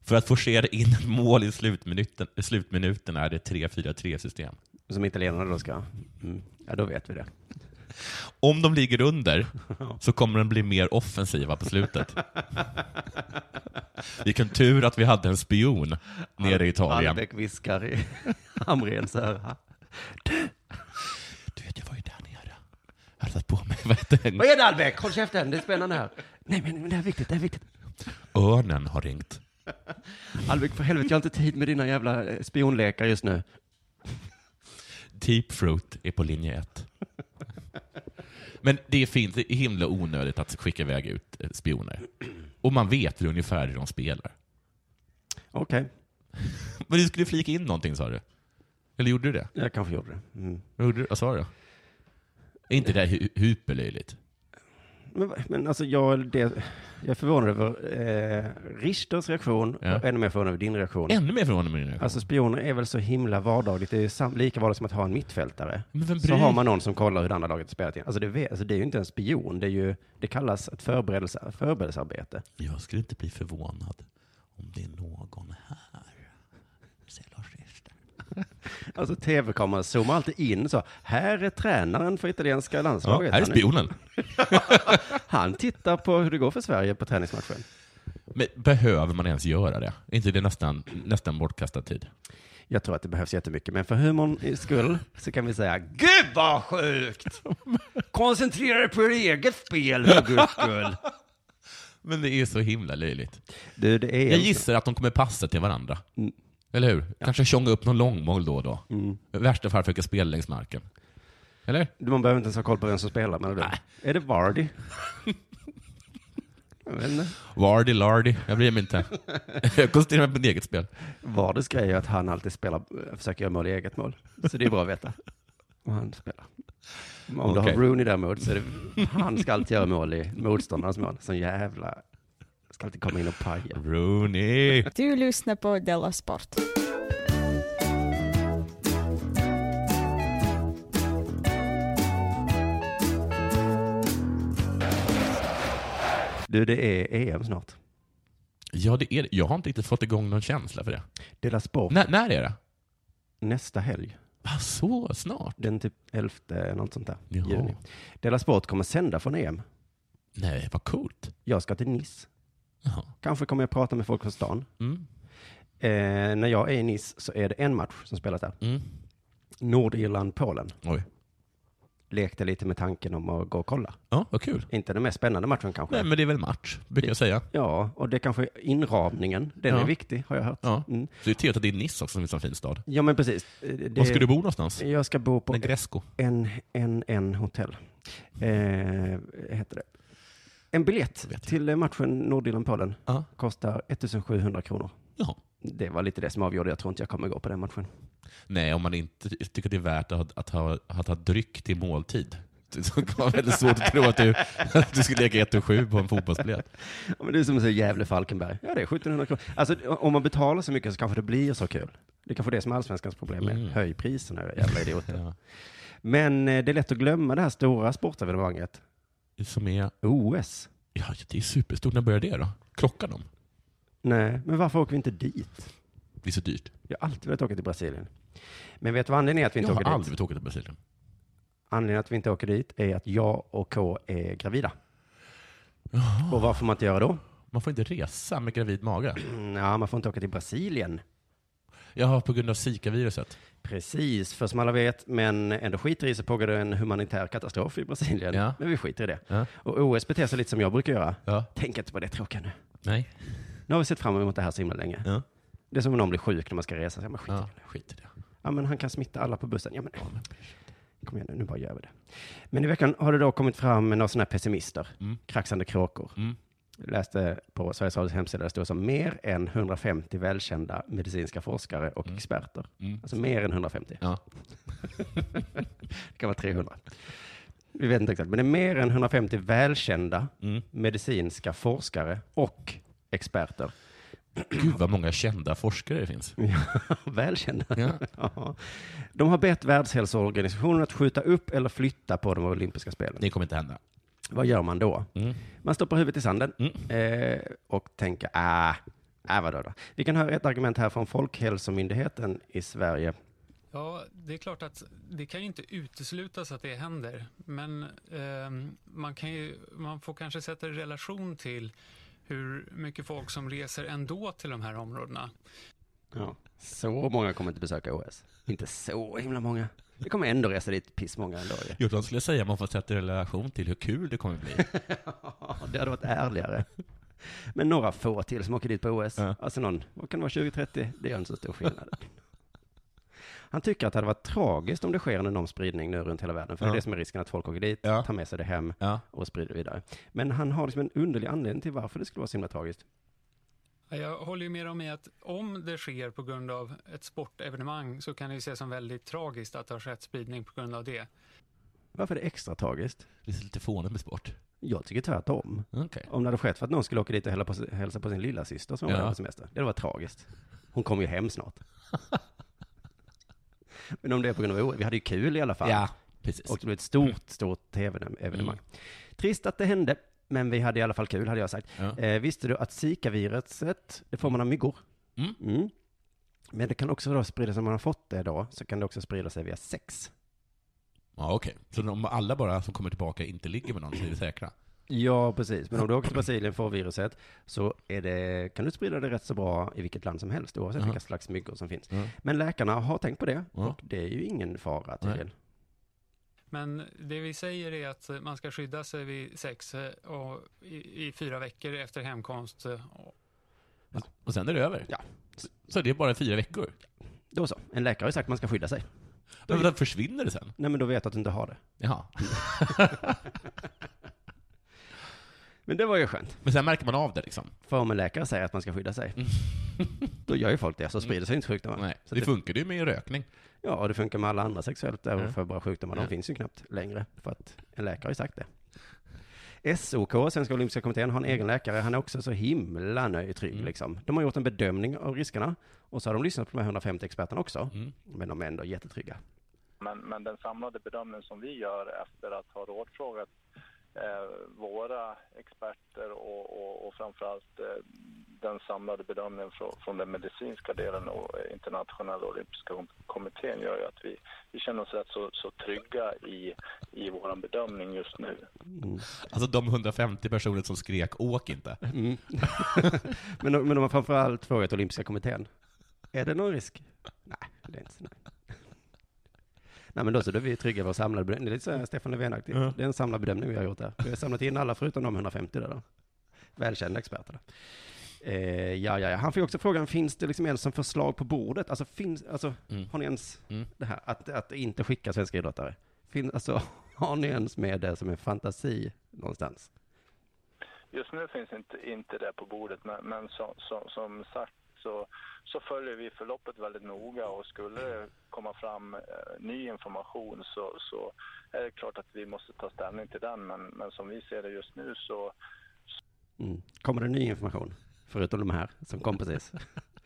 [SPEAKER 4] För att forcera in ett mål i slutminuten, i slutminuten är det 3-4-3-system.
[SPEAKER 3] Som italienarna då ska. Mm. Ja, då vet vi det.
[SPEAKER 4] Om de ligger under så kommer de bli mer offensiva på slutet. Vilken tur att vi hade en spion nere i Italien.
[SPEAKER 3] Albeck viskar i Hamrens öra.
[SPEAKER 4] Du vet, jag var ju där nere. Jag hade satt på mig, vad heter det?
[SPEAKER 3] Vad är det Albeck? Håll käften, det är spännande här. Nej, men men det här är viktigt, det här är viktigt.
[SPEAKER 4] Örnen har ringt.
[SPEAKER 3] Albeck, för helvete, jag har inte tid med dina jävla eh, spionlekar just nu.
[SPEAKER 4] Deep Fruit är på linje 1. Men det är fint, det är himla onödigt att skicka iväg ut eh, spioner. Och man vet väl ungefär hur de spelar.
[SPEAKER 3] Okej.
[SPEAKER 4] Men du skulle flika in någonting sa du? Eller gjorde du det?
[SPEAKER 3] Jag kanske gjorde det. Mm.
[SPEAKER 4] Gjorde du, vad sa du? Är inte det här hu- hyperlöjligt?
[SPEAKER 3] Men, va- men alltså jag, det, jag är förvånad över eh, Richters reaktion
[SPEAKER 4] Ja.
[SPEAKER 3] och ännu mer förvånad över din reaktion.
[SPEAKER 4] Ännu mer förvånad över min reaktion.
[SPEAKER 3] Alltså spioner är väl så himla vardagligt, det är sam- lika vardagligt som att ha en mittfältare.
[SPEAKER 4] Men vem
[SPEAKER 3] Så
[SPEAKER 4] bryr-
[SPEAKER 3] har man någon som kollar hur det andra laget spelat in. Alltså det, vet- alltså det är ju inte en spion, det, är ju, det kallas ett förberedelse, förberedelsearbete.
[SPEAKER 4] Jag skulle inte bli förvånad om det är någon här. Säger Lars Richter.
[SPEAKER 3] Alltså tv-kameran zoomar alltid in så, här är tränaren för italienska landslaget.
[SPEAKER 4] Ja, här är
[SPEAKER 3] Han
[SPEAKER 4] spionen.
[SPEAKER 3] Han tittar på hur det går för Sverige på träningsmatchen.
[SPEAKER 4] Men behöver man ens göra det? Är inte det nästan, nästan bortkastad tid?
[SPEAKER 3] Jag tror att det behövs jättemycket, men för humorns skull så kan vi säga Gud vad sjukt! Koncentrera dig på ditt eget spel för guds skull.
[SPEAKER 4] Men det är så himla löjligt.
[SPEAKER 3] Du, det är
[SPEAKER 4] Jag gissar att de kommer passa till varandra.
[SPEAKER 3] Mm.
[SPEAKER 4] Eller hur? Kanske tjonga upp någon långmål då och då.
[SPEAKER 3] Mm.
[SPEAKER 4] I värsta fall försöka spela längs marken. Eller?
[SPEAKER 3] Man behöver inte ens ha koll på vem som spelar, menar du? Är det Vardy? Jag vet inte.
[SPEAKER 4] Vardy, Lardy. Jag bryr mig inte. jag koncentrerar mig på mitt eget spel.
[SPEAKER 3] Vardys grej är att han alltid spelar, försöker göra mål i eget mål. Så det är bra att veta. Och han spelar. Om du
[SPEAKER 4] Okej.
[SPEAKER 3] har Rooney däremot så är det, han ska alltid göra mål i motståndarens mål. Så jävla, ska alltid komma in och paja.
[SPEAKER 4] Rooney.
[SPEAKER 8] Du lyssnar på Della Sport.
[SPEAKER 3] Du, det är EM snart.
[SPEAKER 4] Ja, det är det. Jag har inte riktigt fått igång någon känsla för det.
[SPEAKER 3] Dela Sport.
[SPEAKER 4] När- när är det?
[SPEAKER 3] Nästa helg.
[SPEAKER 4] Va, så snart?
[SPEAKER 3] Den typ 11 eller något sånt där.
[SPEAKER 4] Jaha.
[SPEAKER 3] Juni. Dela Sport kommer sända från EM.
[SPEAKER 4] Nej, vad coolt.
[SPEAKER 3] Jag ska till Nice. Kanske kommer jag prata med folk från stan.
[SPEAKER 4] Mm.
[SPEAKER 3] Eh, när jag är i Nice så är det en match som spelas där.
[SPEAKER 4] mm.
[SPEAKER 3] Nordirland-Polen.
[SPEAKER 4] Oj.
[SPEAKER 3] Lekte lite med tanken om att gå och kolla.
[SPEAKER 4] Ja, vad kul.
[SPEAKER 3] Inte den mest spännande matchen kanske.
[SPEAKER 4] Nej, men det är väl match, brukar jag säga.
[SPEAKER 3] Ja, och det kanske är inramningen. Den
[SPEAKER 4] Ja.
[SPEAKER 3] är viktig, har jag hört.
[SPEAKER 4] Ja.
[SPEAKER 3] Mm.
[SPEAKER 4] Så det är trevligt att det är Nice också, som är en sån fin stad.
[SPEAKER 3] Ja, men precis. Eh, det-
[SPEAKER 4] Var ska du bo någonstans?
[SPEAKER 3] Jag ska bo på
[SPEAKER 4] Negresco.
[SPEAKER 3] en, en, en hotell. Eh, heter det. En biljett till eh, matchen Nordirland-Polen kostar 1700 kronor.
[SPEAKER 4] Ja.
[SPEAKER 3] Det var lite det som avgjorde. Jag tror inte jag kommer gå på den matchen.
[SPEAKER 4] Nej, om man inte tycker det är värt att, att, ha, att ha dryck till måltid. Så kan vara väldigt svårt att tro att du, att du skulle lägga 1 och 7 på en fotbollsbiljett.
[SPEAKER 3] Ja, men det är som att säga Gävle-Falkenberg. Ja, det är 1700 kronor. Alltså, om man betalar så mycket så kanske det blir så kul. Det är kanske det som är allsvenskans problem
[SPEAKER 4] Mm.
[SPEAKER 3] med. Höj priserna, era jävla idioter. Men eh, det är lätt att glömma det här stora sportevenemanget.
[SPEAKER 4] Som är?
[SPEAKER 3] OS.
[SPEAKER 4] Ja, det är superstort. När börjar det då? Klockan dem?
[SPEAKER 3] Nej, men varför åker vi inte dit?
[SPEAKER 4] Det är så dyrt.
[SPEAKER 3] Jag har alltid velat åka till Brasilien. Men vet du vad anledningen är att vi
[SPEAKER 4] Jag
[SPEAKER 3] inte
[SPEAKER 4] har
[SPEAKER 3] åker dit?
[SPEAKER 4] aldrig velat åka till Brasilien.
[SPEAKER 3] Anledningen att vi inte åker dit är att jag och K är gravida. Och vad får man inte göra då? Mm,
[SPEAKER 4] Man får inte resa med gravid mage.
[SPEAKER 3] Ja, man får inte åka till Brasilien.
[SPEAKER 4] Jaha, på grund av Zika-viruset.
[SPEAKER 3] Precis, för som alla vet, men ändå skiter i så pågår det en humanitär katastrof i Brasilien.
[SPEAKER 4] Ja.
[SPEAKER 3] Men vi skiter i det.
[SPEAKER 4] Ja.
[SPEAKER 3] Och OS beter sig lite som jag brukar göra.
[SPEAKER 4] Ja.
[SPEAKER 3] Tänk inte på det tråkiga nu.
[SPEAKER 4] Nej.
[SPEAKER 3] Nu har vi sett fram emot det här så himla länge.
[SPEAKER 4] Ja.
[SPEAKER 3] Det är som om någon blir sjuk när man ska resa. Så, men skit, i
[SPEAKER 4] Ja,
[SPEAKER 3] det.
[SPEAKER 4] skit i det.
[SPEAKER 3] ja, men han kan smitta alla på bussen. Ja, men, kom igen nu, nu bara gör vi det. Men i veckan har det då kommit fram några sådana här pessimister, kraxande kråkor.
[SPEAKER 4] Mm.
[SPEAKER 3] Jag läste på Sveriges Radios hemsida, där det stod som mer än 150 välkända medicinska forskare och experter.
[SPEAKER 4] Mm.
[SPEAKER 3] Alltså mer än 150.
[SPEAKER 4] Ja.
[SPEAKER 3] det kan vara 300. Vi vet inte exakt, men det är mer än 150 välkända medicinska forskare och experter.
[SPEAKER 4] Gud vad många kända forskare det finns.
[SPEAKER 3] Välkända.
[SPEAKER 4] Ja.
[SPEAKER 3] Ja. De har bett Världshälsoorganisationen att skjuta upp eller flytta på de olympiska spelen.
[SPEAKER 4] Det kommer inte hända.
[SPEAKER 3] Vad gör man då?
[SPEAKER 4] Mm.
[SPEAKER 3] Man stoppar huvudet i sanden eh, och tänker, ah, ah vadå då? Vi kan höra ett argument här från Folkhälsomyndigheten i Sverige.
[SPEAKER 9] Ja, det är klart att det kan ju inte uteslutas att det händer. Men ehm, man, kan ju, man får kanske sätta det i relation till hur mycket folk som reser ändå till de här områdena.
[SPEAKER 3] Ja. Så många kommer inte besöka OS. Inte så himla många. Det kommer ändå resa dit pissmånga ändå ju.
[SPEAKER 4] Jo, de skulle säga att man får sätta det i relation till hur kul det kommer bli.
[SPEAKER 3] Ja, det hade varit ärligare. Men några få till som åker dit på OS. Alltså någon, vad kan det vara, 20-30? Det gör inte så stor skillnad. Han tycker att det hade varit tragiskt om det sker en enorm spridning nu runt hela världen. För det
[SPEAKER 4] Ja.
[SPEAKER 3] är det som är risken, att folk åker dit, tar med sig det hem och sprider vidare. Men han har liksom en underlig anledning till varför det skulle vara så himla tragiskt.
[SPEAKER 9] Jag håller ju med om i att om det sker på grund av ett sportevenemang så kan det ju ses som väldigt tragiskt att det har skett spridning på grund av det.
[SPEAKER 3] Varför är det extra tragiskt?
[SPEAKER 4] Det är lite fånigt med sport.
[SPEAKER 3] Jag tycker tvärtom. Om det hade skett för att någon skulle åka dit och hälla på, hälsa på sin lilla syster som
[SPEAKER 4] Ja.
[SPEAKER 3] var där på semester. Det var tragiskt. Hon kommer ju hem snart. Men om det är på grund av vi hade ju kul i alla fall.
[SPEAKER 4] Ja, Mm. precis.
[SPEAKER 3] Och det blev ett stort, stort tv-evenemang. Trist att det hände, men vi hade i alla fall kul, hade jag sagt. Eh, visste du att Zika-viruset, det får man av myggor?
[SPEAKER 4] Mm.
[SPEAKER 3] Men det kan också då spridas, om man har fått det då, så kan det också sprida sig via sex.
[SPEAKER 4] Ja, okej. Så om alla bara som kommer tillbaka inte ligger med någon så är vi säkra?
[SPEAKER 3] Ja, precis. Men om du åker till Brasilien och får viruset så är det, kan du sprida det rätt så bra i vilket land som helst, oavsett
[SPEAKER 4] Ja.
[SPEAKER 3] vilka slags myggor som finns.
[SPEAKER 4] Ja.
[SPEAKER 3] Men läkarna har tänkt på det,
[SPEAKER 4] Ja.
[SPEAKER 3] och det är ju ingen fara tydligen.
[SPEAKER 9] Men det vi säger är att man ska skydda sig vid sex eh, och i, i fyra veckor efter hemkomst. eh, och-
[SPEAKER 4] Och sen är det över?
[SPEAKER 3] Ja.
[SPEAKER 4] Så det är bara fyra veckor?
[SPEAKER 3] Då så. En läkare har ju sagt att man ska skydda sig.
[SPEAKER 4] Då, då försvinner det sen?
[SPEAKER 3] Nej, men då vet du att du inte har det.
[SPEAKER 4] Jaha.
[SPEAKER 3] Men det var ju skönt.
[SPEAKER 4] Men sen märker man av det liksom?
[SPEAKER 3] För om en läkare säger att man ska skydda sig, då gör ju folk det, så sprider sig inte sjukdomar.
[SPEAKER 4] Mm. Nej,
[SPEAKER 3] Så
[SPEAKER 4] det funkar ju med rökning.
[SPEAKER 3] Ja, och det funkar med alla andra sexuellt överförbara sjukdomar. De
[SPEAKER 4] Ja.
[SPEAKER 3] finns ju knappt längre, för att en läkare har ju sagt det. SOK, Svenska Olympiska Kommittén, har en egen läkare. Han är också så himla nöjd och
[SPEAKER 4] Mm.
[SPEAKER 3] trygg. Liksom. De har gjort en bedömning av riskerna och så har de lyssnat på de här 150 experterna också.
[SPEAKER 4] Mm.
[SPEAKER 3] Men de är ändå jättetrygga.
[SPEAKER 10] Men, men den samlade bedömning som vi gör efter att ha rådfrågat eh, våra experter och, och, och framförallt eh, den samlade bedömningen från, från den medicinska delen och eh, internationella olympiska kom- kommittén gör ju att vi, vi känner oss rätt så, så trygga i, i vår bedömning just nu.
[SPEAKER 4] Alltså de 150 personer som skrek åk inte.
[SPEAKER 3] men, de, men de har framförallt frågat Olympiska Kommittén. Är det någon risk? Nej, det är inte så. Nej. Nej men då så, då är vi trygga i vår samlade bedömning. Det är lite så här Stefan Löfven-aktigt.
[SPEAKER 4] Ja.
[SPEAKER 3] Det är en samlad bedömning vi har gjort där. Vi har samlat in alla förutom de 150 där då. Välkända experter. Eh, ja, ja, ja. Han fick också frågan, finns det liksom ens som förslag på bordet? Alltså, finns, alltså har ni ens det här att, att inte skicka svenska idrottare? Fin, alltså, har ni ens med det som en fantasi någonstans?
[SPEAKER 10] Just nu finns inte, inte det på bordet, men, men som, som, som sagt så, så följer vi förloppet väldigt noga och skulle det komma fram eh, ny information så, så är det klart att vi måste ta ställning till den. Men, men som vi ser det just nu så
[SPEAKER 3] Mm. Kommer det ny information? Förutom de här som kom precis.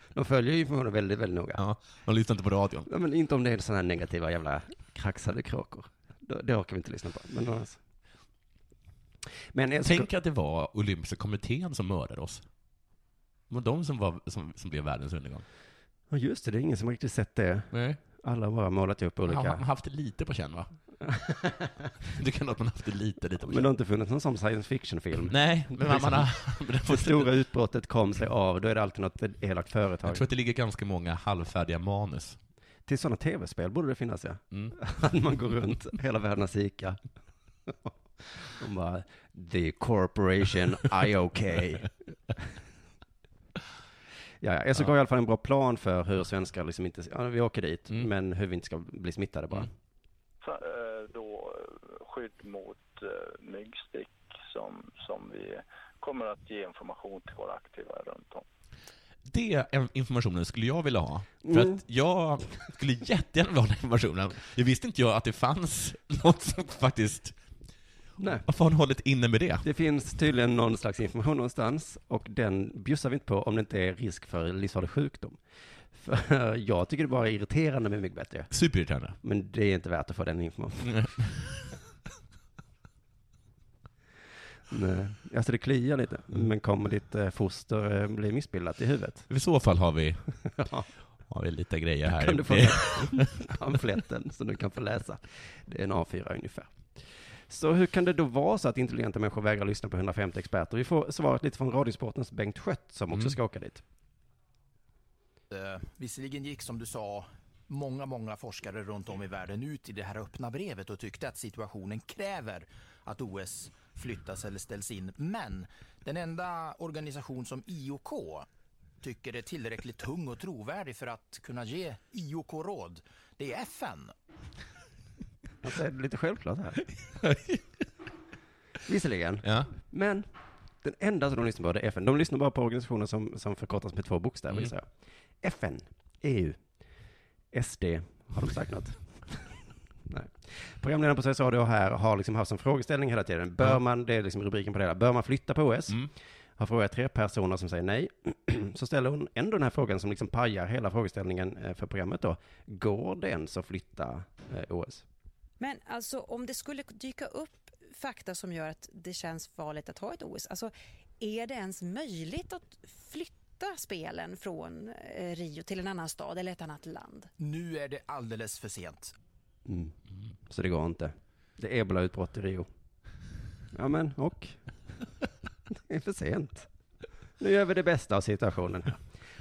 [SPEAKER 3] De följer ju informationen väldigt, väldigt noga.
[SPEAKER 4] Ja, de lyssnar inte på radion.
[SPEAKER 3] Ja, men inte om det är sådana här negativa jävla kraxade kråkor. Då, det orkar vi inte lyssna på. Men annars. Men jag
[SPEAKER 4] Tänk att det var Olympiska kommittén som mördade oss. Det var de som, var, som, som blev världens undergång.
[SPEAKER 3] Ja, just det, det är ingen som riktigt sett det.
[SPEAKER 4] Nej.
[SPEAKER 3] Alla har bara målat upp olika.
[SPEAKER 4] Man har haft det lite på känn va? Du kan ha att man haft det lite, lite på
[SPEAKER 3] Men det har
[SPEAKER 4] känn.
[SPEAKER 3] inte funnits någon sån science fiction-film.
[SPEAKER 4] Nej, men man- man har- men det
[SPEAKER 3] Det
[SPEAKER 4] har-
[SPEAKER 3] stora utbrottet kom sig av, då är det alltid något elakt företag.
[SPEAKER 4] Jag tror att det ligger ganska många halvfärdiga manus.
[SPEAKER 3] Till sådana tv-spel borde det finnas ja.
[SPEAKER 4] Mm.
[SPEAKER 3] Att man går runt, hela världen har Zika. De bara, the corporation IOK. Ja, ja. SOK har i alla fall en bra plan för hur svenskar liksom inte, ja, vi åker dit, men hur vi inte ska bli smittade bara.
[SPEAKER 10] så, eh, då eh, skydd mot eh, myggstick som, som vi kommer att ge information till våra aktiva runt om.
[SPEAKER 4] Det en- informationen skulle jag vilja ha. För
[SPEAKER 10] Mm.
[SPEAKER 4] att jag skulle jättegärna vilja ha den informationen. Jag visste inte jag att det fanns något som faktiskt...
[SPEAKER 3] Nej.
[SPEAKER 4] Varför har ni hållit inne med det?
[SPEAKER 3] Det finns tydligen någon slags information någonstans och den bjussar vi inte på om det inte är risk för livsfarlig sjukdom. För jag tycker det bara är irriterande med mycket bättre.
[SPEAKER 4] Superirriterande.
[SPEAKER 3] Men det är inte värt att få den informationen. Nej. Alltså det kliar lite, men kommer ditt eh, foster eh, bli missbildat i huvudet?
[SPEAKER 4] I så fall har vi,
[SPEAKER 3] Ja.
[SPEAKER 4] har vi lite grejer här.
[SPEAKER 3] Kan du få
[SPEAKER 4] Det-
[SPEAKER 3] med pamfletten så du kan få läsa? Det är en A4 ungefär. Så hur kan det då vara så att intelligenta människor vägrar lyssna på 150 experter? Vi får svaret lite från Radiosportens Bengt Skött som också
[SPEAKER 11] Mm.
[SPEAKER 3] ska åka dit.
[SPEAKER 11] Eh, visserligen gick som du sa många, många forskare runt om i världen ut i det här öppna brevet och tyckte att situationen kräver att OS flyttas eller ställs in. Men den enda organisation som IOK tycker är tillräckligt tung och trovärdig för att kunna ge IOK-råd, det är FN.
[SPEAKER 3] Alltså, är det lite självklart här? Visserligen. Men Den enda som de lyssnar på det är FN. De lyssnar bara på organisationer som, som förkortas med två bokstäver,
[SPEAKER 4] Mm.
[SPEAKER 3] gissar jag. FN, EU, SD, har de sagt något? Nej. Programledaren på Sveriges Radio här har liksom haft som frågeställning hela tiden, bör man, det är liksom rubriken på det hela, bör man flytta på OS? Har frågat tre personer som säger nej. Så ställer hon ändå den här frågan som liksom pajar hela frågeställningen eh, för programmet då. Går det ens att flytta eh, OS?
[SPEAKER 12] Men alltså om det skulle dyka upp fakta som gör att det känns farligt att ha ett OS, alltså är det ens möjligt att flytta spelen från eh, Rio till en annan stad eller ett annat land?
[SPEAKER 11] Nu är det alldeles för sent.
[SPEAKER 3] Mm. Så det går inte. Det är ebolautbrott i Rio. Ja men, och? Det är för sent. Nu gör vi det bästa av situationen. här.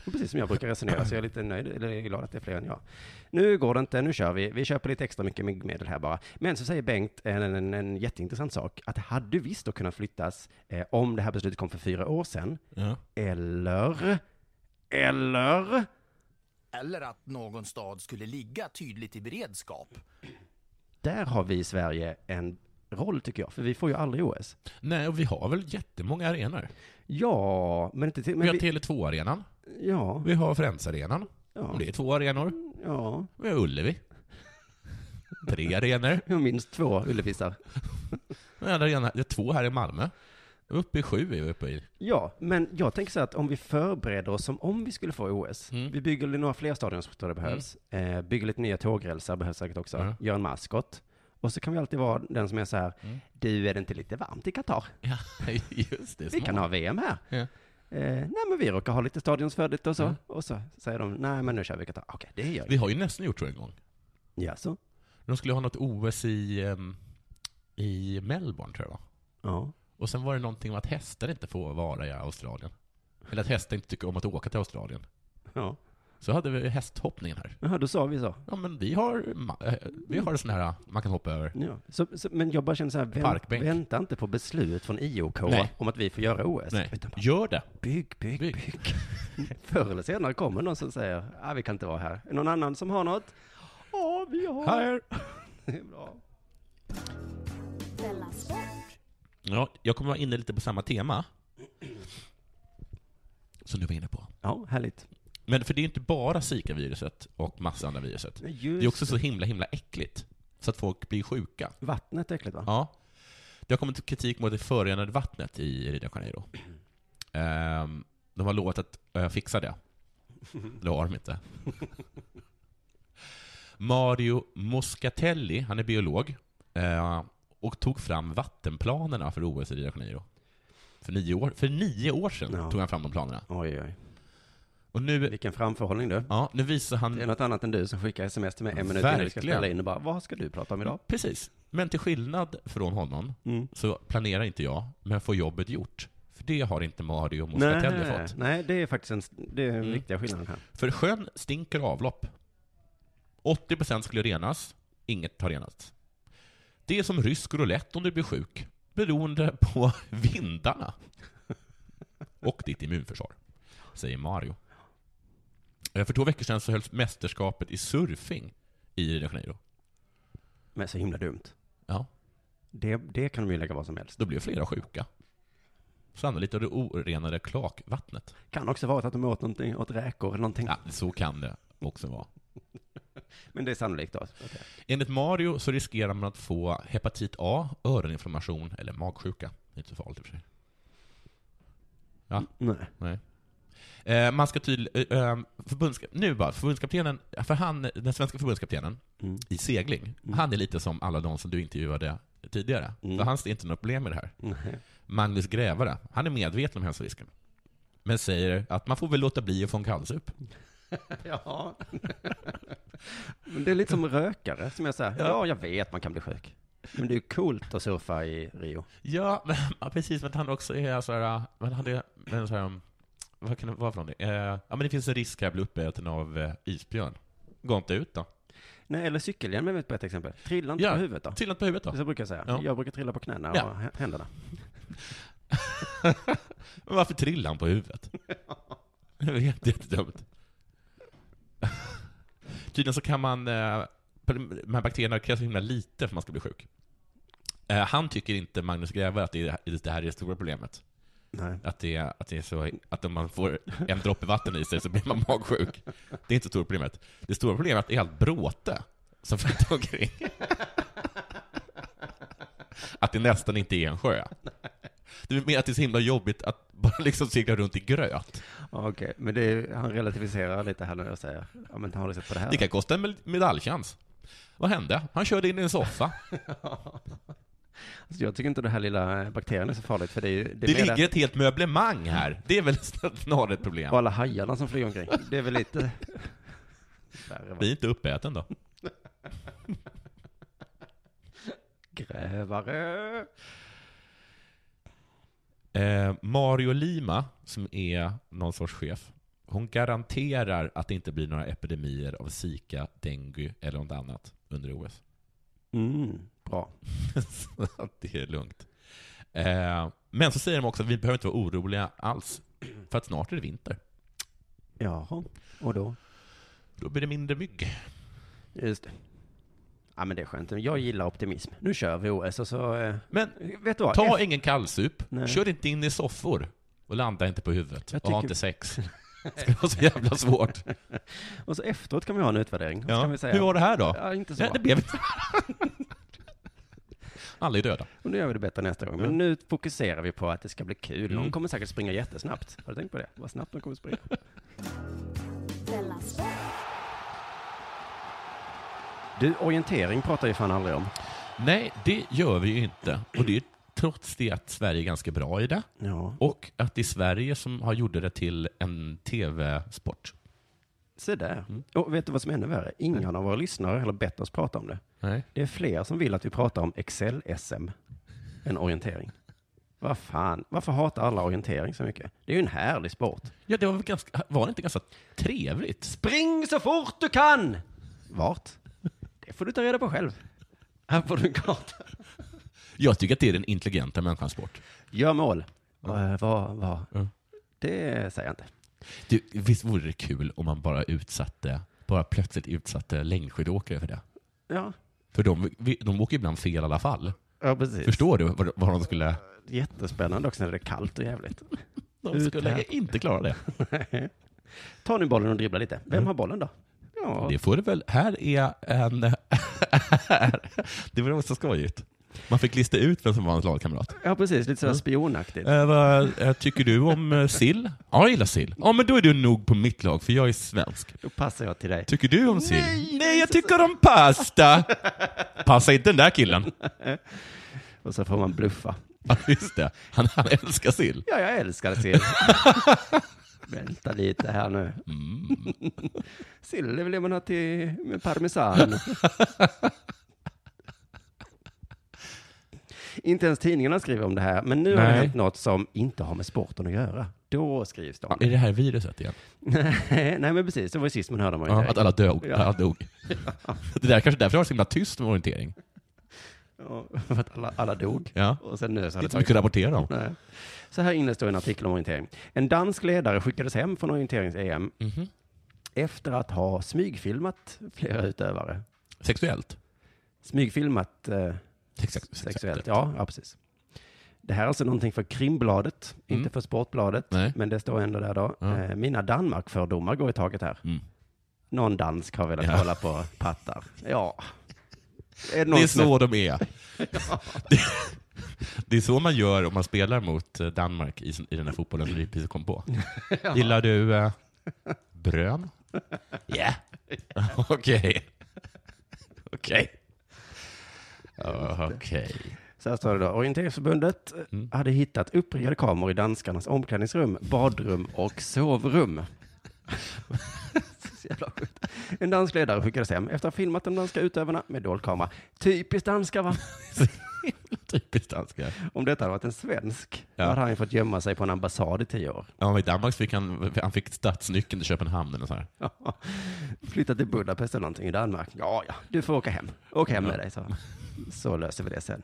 [SPEAKER 3] Och Precis som jag brukar resonera, så jag är lite nöjd, eller jag är glad att det är fler än jag. Nu går det inte, nu kör vi. Vi köper lite extra mycket myggmedel här bara. Men så säger Bengt en, en, en, en jätteintressant sak, att det hade visst då kunnat flyttas eh, om det här beslutet kom för fyra år sedan.
[SPEAKER 4] Ja.
[SPEAKER 3] Eller, eller,
[SPEAKER 11] Eller att någon stad skulle ligga tydligt i beredskap.
[SPEAKER 3] där har vi i Sverige en roll tycker jag, för vi får ju aldrig OS.
[SPEAKER 4] Nej, och vi har väl jättemånga arenor?
[SPEAKER 3] Ja, men inte till... Men
[SPEAKER 4] vi har
[SPEAKER 3] vi-
[SPEAKER 4] Tele2-arenan.
[SPEAKER 3] Ja.
[SPEAKER 4] Vi har Friends-arenan.
[SPEAKER 3] Ja.
[SPEAKER 4] Om det är två arenor.
[SPEAKER 3] Ja.
[SPEAKER 4] Vi har Ullevi. Tre arenor.
[SPEAKER 3] Jag minst två Ullevisar.
[SPEAKER 4] Vi har en arena- det är två här i Malmö. Uppe i sju är vi uppe i.
[SPEAKER 3] Ja, men jag tänker så här att om vi förbereder oss som om vi skulle få OS.
[SPEAKER 4] Mm.
[SPEAKER 3] Vi bygger några fler stadion som jag tror det behövs. Eh, bygger lite nya tågrälsar behövs säkert också.
[SPEAKER 4] Ja.
[SPEAKER 3] Gör en maskot. Och så kan vi alltid vara den som är så här,
[SPEAKER 4] Mm.
[SPEAKER 3] du är det inte lite varmt i Qatar?
[SPEAKER 4] Ja, just det.
[SPEAKER 3] Vi kan
[SPEAKER 4] smart.
[SPEAKER 3] ha VM här.
[SPEAKER 4] Ja.
[SPEAKER 3] Eh, nej men vi råkar ha lite stadionsfödigt och så. Och så säger de, nej men nu kör vi Qatar. Okej, det gör
[SPEAKER 4] Vi har ju nästan gjort så en gång.
[SPEAKER 3] Ja, så.
[SPEAKER 4] De skulle ha något OS i, ehm, i Melbourne, tror jag va?
[SPEAKER 3] Ja.
[SPEAKER 4] Och sen var det någonting om att hästar inte får vara i Australien. Eller att hästar inte tycker om att åka till Australien.
[SPEAKER 3] Ja.
[SPEAKER 4] Så hade vi hästhoppningen här.
[SPEAKER 3] Jaha, då sa vi så.
[SPEAKER 4] Ja, men vi har, ma- eh, vi har sån här man kan hoppa över.
[SPEAKER 3] Ja, så, så, men jag bara känner så här, vänt,
[SPEAKER 4] Parkbänk.
[SPEAKER 3] vänta inte på beslut från IOK
[SPEAKER 4] Nej.
[SPEAKER 3] om att vi får göra OS.
[SPEAKER 4] Nej.
[SPEAKER 3] Utan bara,
[SPEAKER 4] Gör det.
[SPEAKER 3] Bygg, bygg, bygg. Förr eller senare kommer någon som säger, ah, vi kan inte vara här. Någon annan som har något? Ja, vi har...
[SPEAKER 4] Här.
[SPEAKER 3] Det är bra.
[SPEAKER 2] Della Sport.
[SPEAKER 4] Ja, jag kommer vara inne lite på samma tema. Som du var inne på.
[SPEAKER 3] Ja, härligt.
[SPEAKER 4] Men för det är ju inte bara Zika-viruset och massa andra viruset.
[SPEAKER 3] Nej,
[SPEAKER 4] det
[SPEAKER 3] just
[SPEAKER 4] är också så
[SPEAKER 3] det.
[SPEAKER 4] himla, himla äckligt. Så att folk blir sjuka.
[SPEAKER 3] Vattnet är äckligt va?
[SPEAKER 4] Ja. Det har kommit kritik mot det förorenade vattnet i Rio de Janeiro. Ehm, de har lovat att eh, fixa det. Det har de inte. Mario Moscatelli, han är biolog, eh, och tog fram vattenplanerna för OS i Rio de Janeiro. För nio år, för nio år sedan tog han fram de planerna.
[SPEAKER 3] Oj, oj.
[SPEAKER 4] Och nu,
[SPEAKER 3] Vilken framförhållning du.
[SPEAKER 4] Ja, nu visar han...
[SPEAKER 3] Det är något annat än du som skickar sms till mig en minut innan vi ska
[SPEAKER 4] Verkligen.
[SPEAKER 3] spela in och bara, vad ska du prata om idag?
[SPEAKER 4] Precis. Men till skillnad från honom så planerar inte jag, men får jobbet gjort. För det har inte Mario Moscatelli
[SPEAKER 3] Mm. nej,
[SPEAKER 4] fått. Mm.
[SPEAKER 3] nej, det är faktiskt en, det är den viktiga skillnaden här.
[SPEAKER 4] För sjön stinker av avlopp. 80% skulle renas, inget har renats. Det är som rysk roulette om du blir sjuk, beroende på vindarna och ditt immunförsvar, säger Mario. Eh, För två veckor sedan så hölls mästerskapet i surfing i Rio de Janeiro.
[SPEAKER 3] Men så himla dumt.
[SPEAKER 4] Ja.
[SPEAKER 3] Det, det kan de ju lägga vad som helst.
[SPEAKER 4] Då blev flera sjuka. Sannolikt av det orenade klakvattnet.
[SPEAKER 3] Kan också vara att de åt någonting, åt räkor eller någonting.
[SPEAKER 4] Ja, så kan det också vara.
[SPEAKER 3] Men det är sannolikt då.
[SPEAKER 4] Enligt Mario så riskerar man att få hepatit A, öroninflammation eller magsjuka. Det är inte så farligt i och för sig. Ja.
[SPEAKER 3] Nej.
[SPEAKER 4] Eh, man ska tydligen... Eh, eh, förbundska- nu bara, förbundskaptenen, för han, den svenska förbundskaptenen i segling, han är lite som alla de som du intervjuade tidigare. För han ser inte något problem med det här.
[SPEAKER 3] Nej.
[SPEAKER 4] Magnus Grävare, han är medveten om hälsorisken. Men säger att man får väl låta bli att få en kallsup.
[SPEAKER 3] Ja. Men det är lite som rökare, som jag säger. Ja, jag vet man kan bli sjuk. Men det är ju coolt att surfa i Rio.
[SPEAKER 4] Ja, men, ja, precis. Men att han också är så här... Men han är, men så här um, vad kan det vara för någonting? Eh, ja, men det finns en risk här att bli uppäten av eh, isbjörn. Gå inte ut då.
[SPEAKER 3] Nej, eller cykelhjälm är väl ett bättre exempel. Trilla inte
[SPEAKER 4] Ja,
[SPEAKER 3] på huvudet då.
[SPEAKER 4] trilla inte på huvudet då.
[SPEAKER 3] Det så brukar jag säga.
[SPEAKER 4] Ja.
[SPEAKER 3] Jag brukar trilla på knäna och
[SPEAKER 4] Ja.
[SPEAKER 3] h- händerna.
[SPEAKER 4] Men varför trillar han på huvudet? Det var jätte- jättedumt. Tydligen så kan man... Eh, de här bakterierna krävs så himla lite för att man ska bli sjuk. Eh, han tycker inte, Magnus Gräve, att det, är, det här är det stora problemet. Att, det, är- att, det är så, att om man får en droppe vatten i sig så blir man magsjuk. Det är inte det stora problemet. Det stora problemet är att det är allt bråte som flyter omkring. Att det nästan inte är en sjö. Det är mer att det är så himla jobbigt att bara liksom segla runt i gröt.
[SPEAKER 3] Okej, men det är, han relativiserar lite här nu och säger, ja men har du sett på det här?
[SPEAKER 4] Det kan kosta en med- medaljchans. Vad hände? Han körde in i en soffa.
[SPEAKER 3] Alltså, jag tycker inte den här lilla bakterien är så farligt, för det är ju...
[SPEAKER 4] Det,
[SPEAKER 3] är mer
[SPEAKER 4] ligger ett helt möblemang här. Det är väl snarare ett problem.
[SPEAKER 3] Och alla hajarna som flyger omkring. Det är väl lite... Värre, va?
[SPEAKER 4] Bli inte uppäten då.
[SPEAKER 3] Grävare!
[SPEAKER 4] Eh, Mario Lima, som är någon sorts chef, hon garanterar att det inte blir några epidemier av zika, dengue eller något annat under OS.
[SPEAKER 3] Mm, bra.
[SPEAKER 4] Så att det är lugnt. Eh, men så säger de också att vi behöver inte vara oroliga alls, för att snart är det vinter.
[SPEAKER 3] Jaha, och då?
[SPEAKER 4] Då blir det mindre mygg.
[SPEAKER 3] Just det. Ja men det är skönt. Jag gillar optimism. Nu kör vi OS och så... eh,
[SPEAKER 4] Men
[SPEAKER 3] vet du vad?
[SPEAKER 4] ta
[SPEAKER 3] F-
[SPEAKER 4] ingen kallsup,
[SPEAKER 3] Nej.
[SPEAKER 4] kör inte in i soffor och landa inte på huvudet
[SPEAKER 3] Jag
[SPEAKER 4] och ha
[SPEAKER 3] tycker-
[SPEAKER 4] inte sex. Det ska vara så jävla svårt.
[SPEAKER 3] Och så efteråt kan vi ha en utvärdering. Och så
[SPEAKER 4] Ja.
[SPEAKER 3] Kan vi säga,
[SPEAKER 4] Hur var det här då?
[SPEAKER 3] Ja, inte så
[SPEAKER 4] Nej,
[SPEAKER 3] bra.
[SPEAKER 4] det blev inte. Alla är döda.
[SPEAKER 3] Och nu gör vi det bättre nästa gång. Men
[SPEAKER 4] Ja.
[SPEAKER 3] nu fokuserar vi på att det ska bli kul.
[SPEAKER 4] Mm.
[SPEAKER 3] Någon kommer säkert springa jättesnabbt. Har du tänkt på det? Vad snabbt de kommer springa.
[SPEAKER 2] Della Sport.
[SPEAKER 3] Du, orientering pratar ju fan aldrig om.
[SPEAKER 4] Nej, det gör vi ju inte. Och det är trots det att Sverige är ganska bra i det.
[SPEAKER 3] Ja.
[SPEAKER 4] Och att det är Sverige som har gjort det till en tv-sport.
[SPEAKER 3] Se där. Och vet du vad som är ännu värre? Ingen av våra lyssnare har bett oss prata om det.
[SPEAKER 4] Nej.
[SPEAKER 3] Det är fler som vill att vi pratar om Excel-SM än orientering. Vad fan, varför hatar alla orientering så mycket? Det är ju en härlig sport.
[SPEAKER 4] Ja, det var, väl ganska, var det inte ganska trevligt?
[SPEAKER 3] Spring så fort du kan! Vart? Det får du ta reda på själv. Här får du en karta.
[SPEAKER 4] Jag tycker att det är den intelligenta människans sport.
[SPEAKER 3] Gör mål. Eh, Vad, vad? Det säger jag inte.
[SPEAKER 4] Du, visst vore det kul om man bara utsatte, bara plötsligt utsatte längdskidåkare för det?
[SPEAKER 3] Ja,
[SPEAKER 4] För de, de åker ibland fel i alla fall.
[SPEAKER 3] ja precis.
[SPEAKER 4] Förstår du vad, vad de skulle...
[SPEAKER 3] Jättespännande också när det är kallt och jävligt.
[SPEAKER 4] De skulle inte klara det.
[SPEAKER 3] Ta nu bollen och dribbla lite. Vem har bollen då? Mm. Ja.
[SPEAKER 4] Det får du väl. Här är en... det var också skojigt. Man fick lista ut vem som var hans lagkamrat.
[SPEAKER 3] Ja, precis. Lite sådär spionaktigt.
[SPEAKER 4] Eh, vad eh, tycker du om eh, sill? Ja, jag gillar sill. Ja, men då är du nog på mitt lag, för jag är svensk.
[SPEAKER 3] Då passar jag till dig.
[SPEAKER 4] Tycker du om sill? Nej, jag tycker om pasta! Passa inte den där killen.
[SPEAKER 3] Och så får man bluffa.
[SPEAKER 4] Ja, just det. Han, han älskar sill.
[SPEAKER 3] Ja, jag älskar sill. Vänta lite här nu.
[SPEAKER 4] Mm.
[SPEAKER 3] Sill är väl det man har till med parmesan. inte ens tidningarna skriver om det här, men nu har det
[SPEAKER 4] Nej.
[SPEAKER 3] hänt något som inte har med sporten att göra. Då skrivs det om
[SPEAKER 4] Är det här viruset igen?
[SPEAKER 3] Nej, nej, men precis. Det var ju sist man hörde om
[SPEAKER 4] Ja,
[SPEAKER 3] orientering.
[SPEAKER 4] att alla dog.
[SPEAKER 3] Ja.
[SPEAKER 4] Alla dog. Det där kanske därför det var så himla tyst med orientering.
[SPEAKER 3] Ja, för att alla, alla dog.
[SPEAKER 4] Ja.
[SPEAKER 3] Och sen nu så har
[SPEAKER 4] Det är inte mycket att rapportera om.
[SPEAKER 3] Nej. Så här inne står en artikel om orientering. En dansk ledare skickades hem från orienterings-EM
[SPEAKER 4] Mhm.
[SPEAKER 3] efter att ha smygfilmat flera utövare.
[SPEAKER 4] Sexuellt?
[SPEAKER 3] Smygfilmat eh, sexuellt. Ja, ja, precis. Det här är alltså någonting för Krimbladet, inte för Sportbladet,
[SPEAKER 4] Mm. Nej.
[SPEAKER 3] men det står ändå där då.
[SPEAKER 4] Ja. Mm.
[SPEAKER 3] Eh, mina Danmark-fördomar går i taget här. Någon dansk har velat
[SPEAKER 4] Ja.
[SPEAKER 3] kolla på pattar. Ja.
[SPEAKER 4] Det
[SPEAKER 3] någon
[SPEAKER 4] är
[SPEAKER 3] som är-
[SPEAKER 4] så de är. Det, det är så man gör om man spelar mot eh, Danmark i, i den här fotbollen som vi precis kom på.
[SPEAKER 3] Ja.
[SPEAKER 4] Gillar du eh, brön? Yeah. Okej. Okej. Okej.
[SPEAKER 3] Så här står det då. Orienteringsförbundet eh, hade hittat uppriggade kameror i danskarnas omklädningsrum, badrum och sovrum. Så jävla sjukt. En dansk ledare skickades hem efter att ha filmat de danska utövarna med dold kamera. Typiskt danskar va?
[SPEAKER 4] Typiskt danskar.
[SPEAKER 3] Om detta hade varit en svensk,
[SPEAKER 4] Ja.
[SPEAKER 3] då hade han ju fått gömma sig på en ambassad i tio år.
[SPEAKER 4] Ja, men I Danmark fick han, han fick stadsnyckeln till Köpenhamn. Och så här.
[SPEAKER 3] Flyttat till Budapest eller någonting i Danmark. Ja, ja, du får åka hem. Åk hem med dig, så. Så löser vi det sen.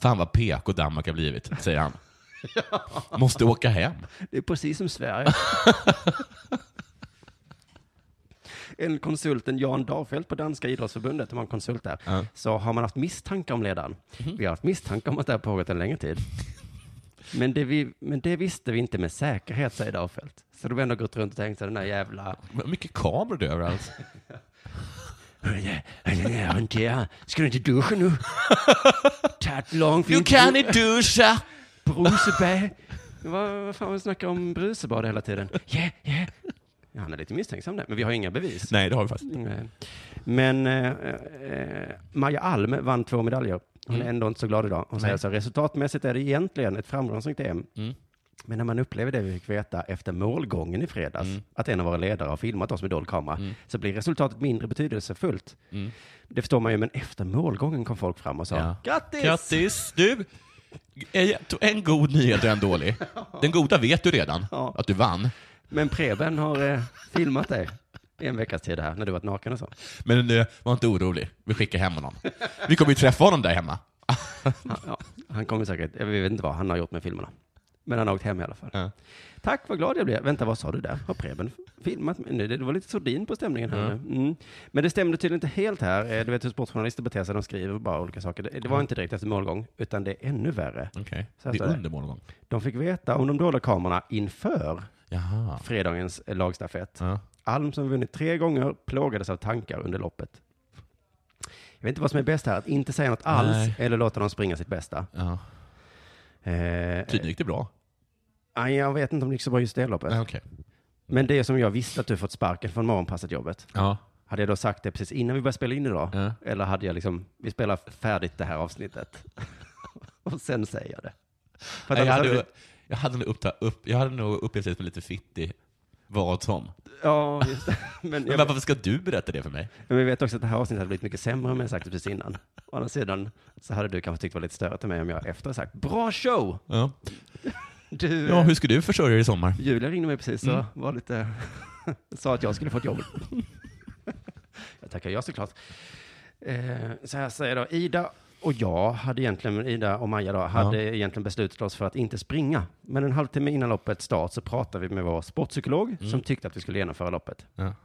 [SPEAKER 4] Fan vad PK Danmark har blivit, säger han. Måste åka hem.
[SPEAKER 3] Det är precis som Sverige. en konsulten Jan Darfelt på Danska idrottsförbundet, de har en konsult där, så har man haft misstankar om ledaren. Vi har haft misstankar om att det här pågått en längre tid. Men det, vi, men det visste vi inte med säkerhet, säger Dahlfeldt. Så de har ändå gått runt och tänkt sig den här jävla...
[SPEAKER 4] Mycket kameror det är överallt.
[SPEAKER 3] Ska du inte duscha nu? Tagit lång
[SPEAKER 4] Du kan inte duscha!
[SPEAKER 3] Brusebad. Vad, vad fan, vi snackar om brusebad hela tiden. Yeah, yeah. Ja, han är lite misstänksam där, men vi har inga bevis.
[SPEAKER 4] Nej, det har vi faktiskt inte.
[SPEAKER 3] Nej. Men eh, eh, Maja Alm vann två medaljer. Hon är
[SPEAKER 4] Mm.
[SPEAKER 3] ändå inte så glad idag. Hon säger
[SPEAKER 4] Nej.
[SPEAKER 3] så här, resultatmässigt är det egentligen ett framgångsrikt EM.
[SPEAKER 4] Mm.
[SPEAKER 3] Men när man upplever det vi fick veta efter målgången i fredags,
[SPEAKER 4] Mm.
[SPEAKER 3] att en av våra ledare har filmat oss med dold kamera, så blir resultatet mindre betydelsefullt.
[SPEAKER 4] Mm.
[SPEAKER 3] Det förstår man ju, men efter målgången kom folk fram och sa,
[SPEAKER 4] Ja.
[SPEAKER 3] grattis!
[SPEAKER 4] Grattis! Du, en- en god nyhet och en dålig. Den goda vet du redan, att du vann.
[SPEAKER 3] Men Preben har eh, filmat dig i en veckas tid här, när du varit naken och så.
[SPEAKER 4] Men eh, var inte orolig, vi skickar hem honom. Vi kommer ju träffa honom där hemma.
[SPEAKER 3] Ja, han kommer säkert, jag vet inte vad han har gjort med filmerna. Men han har åkt hem i alla fall. Tack, vad glad jag blev. Vänta, vad sa du där? Har Preben filmat? mig nu? Det var lite sordin på stämningen här
[SPEAKER 4] Ja.
[SPEAKER 3] nu. Mm. Men det stämde tydligen inte helt här. Eh, Du vet hur sportjournalister beter sig, de skriver bara olika saker. Det, det var
[SPEAKER 4] Ja.
[SPEAKER 3] inte direkt efter målgång, utan det är ännu värre.
[SPEAKER 4] Okej,
[SPEAKER 3] Så här
[SPEAKER 4] det
[SPEAKER 3] står
[SPEAKER 4] är under målgång.
[SPEAKER 3] De fick veta om de dolda kamerorna inför
[SPEAKER 4] Jaha.
[SPEAKER 3] fredagens eh, lagstafett.
[SPEAKER 4] Ja.
[SPEAKER 3] Alm som vunnit tre gånger plågades av tankar under loppet. Jag vet inte vad som är bäst här, att inte säga något alls
[SPEAKER 4] Nej.
[SPEAKER 3] eller låta dem springa sitt bästa.
[SPEAKER 4] Ja.
[SPEAKER 3] Eh,
[SPEAKER 4] Tydligen gick det bra.
[SPEAKER 3] Nej, jag vet inte om det gick så bra just det loppet.
[SPEAKER 4] Nej, okej.
[SPEAKER 3] Men det som jag visste att du fått sparken från morgonpasset-jobbet.
[SPEAKER 4] Ja.
[SPEAKER 3] Hade jag då sagt det precis innan vi började spela in idag?
[SPEAKER 4] Ja.
[SPEAKER 3] Eller hade jag liksom, vi spelar färdigt det här avsnittet. och sen säger jag det. För att
[SPEAKER 4] Nej, jag,
[SPEAKER 3] annars
[SPEAKER 4] hade, jag, hade nog uppta, upp, jag hade nog upplevt det som lite fittig, vad som.
[SPEAKER 3] Ja, just det. Men,
[SPEAKER 4] Men
[SPEAKER 3] jag,
[SPEAKER 4] varför ska du berätta det för mig?
[SPEAKER 3] men vi vet också att det här avsnittet hade blivit mycket sämre om jag sagt det precis innan. Å andra sidan så hade du kanske tyckt det var lite större till mig om jag efter sagt bra show!
[SPEAKER 4] Ja.
[SPEAKER 3] Du,
[SPEAKER 4] Ja, hur ska du försörja dig i sommar?
[SPEAKER 3] Julia ringde mig precis och
[SPEAKER 4] Mm.
[SPEAKER 3] var lite, sa att jag skulle få ett jobb. jag tackar ja såklart. Eh, så här säger då, Ida och jag hade egentligen, Ida och Maja då, hade egentligen beslutat oss för att inte springa. Men en halvtimme innan loppet start så pratade vi med vår sportpsykolog som tyckte att vi skulle genomföra loppet.
[SPEAKER 4] Mm. Ja.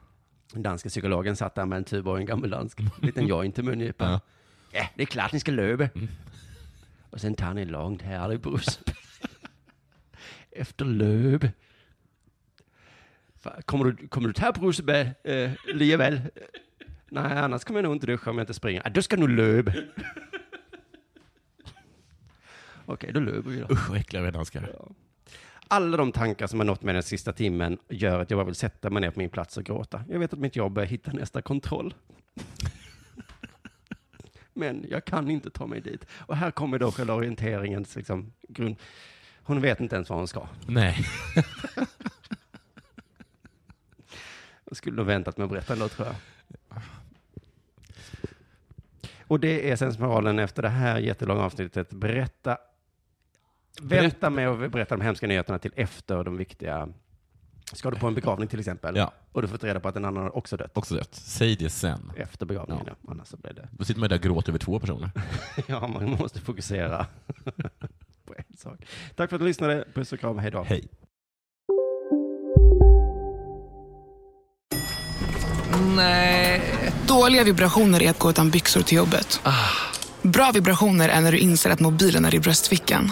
[SPEAKER 3] Den danska psykologen satt där med en tuba och en gammal dansk, liten joint i mungipan. Ja. det är klart ni ska löpa. Och sen tar han en långt härlig buss. Efter löp. Fan, Kommer du, kommer du ta Brusebad eh, liaväl? Nej, annars kommer jag nog inte duscha om jag inte springer. Ah, då ska du nog löpa. Okej, då löper vi då.
[SPEAKER 4] Usch, vad äckliga vi är danskar.
[SPEAKER 3] Alla de tankar som har nått mig den sista timmen gör att jag bara vill sätta mig ner på min plats och gråta. Jag vet att mitt jobb är att hitta nästa kontroll. Men jag kan inte ta mig dit. Och här kommer då själva orienteringens liksom, grund. Hon vet inte ens vad hon ska.
[SPEAKER 4] Nej.
[SPEAKER 3] Jag skulle nog väntat med att berätta ändå, tror jag. Och det är sensmoralen efter det här jättelånga avsnittet. Berätta. Vänta med att berätta de hemska nyheterna till efter de viktiga. Ska du på en begravning till exempel?
[SPEAKER 4] Ja.
[SPEAKER 3] Och du får reda på att en annan har också dött.
[SPEAKER 4] Också rätt. Säg det sen.
[SPEAKER 3] Efter begravningen, ja. Annars så blir det...
[SPEAKER 4] Då sitter man ju där och gråter över två personer.
[SPEAKER 3] Ja, man måste fokusera på en sak. Tack för att du lyssnade. Puss och kram. Hej då.
[SPEAKER 4] Hej.
[SPEAKER 13] Nej. Dåliga vibrationer är att gå utan byxor till jobbet. Bra vibrationer är när du inser att mobilen är i bröstfickan.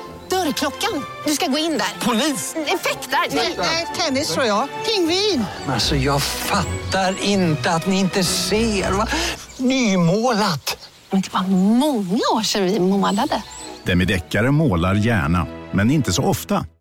[SPEAKER 14] Dörrklockan. Du ska gå in där. Polis? Effektar? Nej, nej, tennis tror jag. Pingvin.
[SPEAKER 15] Alltså jag fattar inte att ni inte ser. Va? Nymålat.
[SPEAKER 14] Men det var många år sedan vi målade.
[SPEAKER 16] Demideckare målar gärna, men inte så ofta.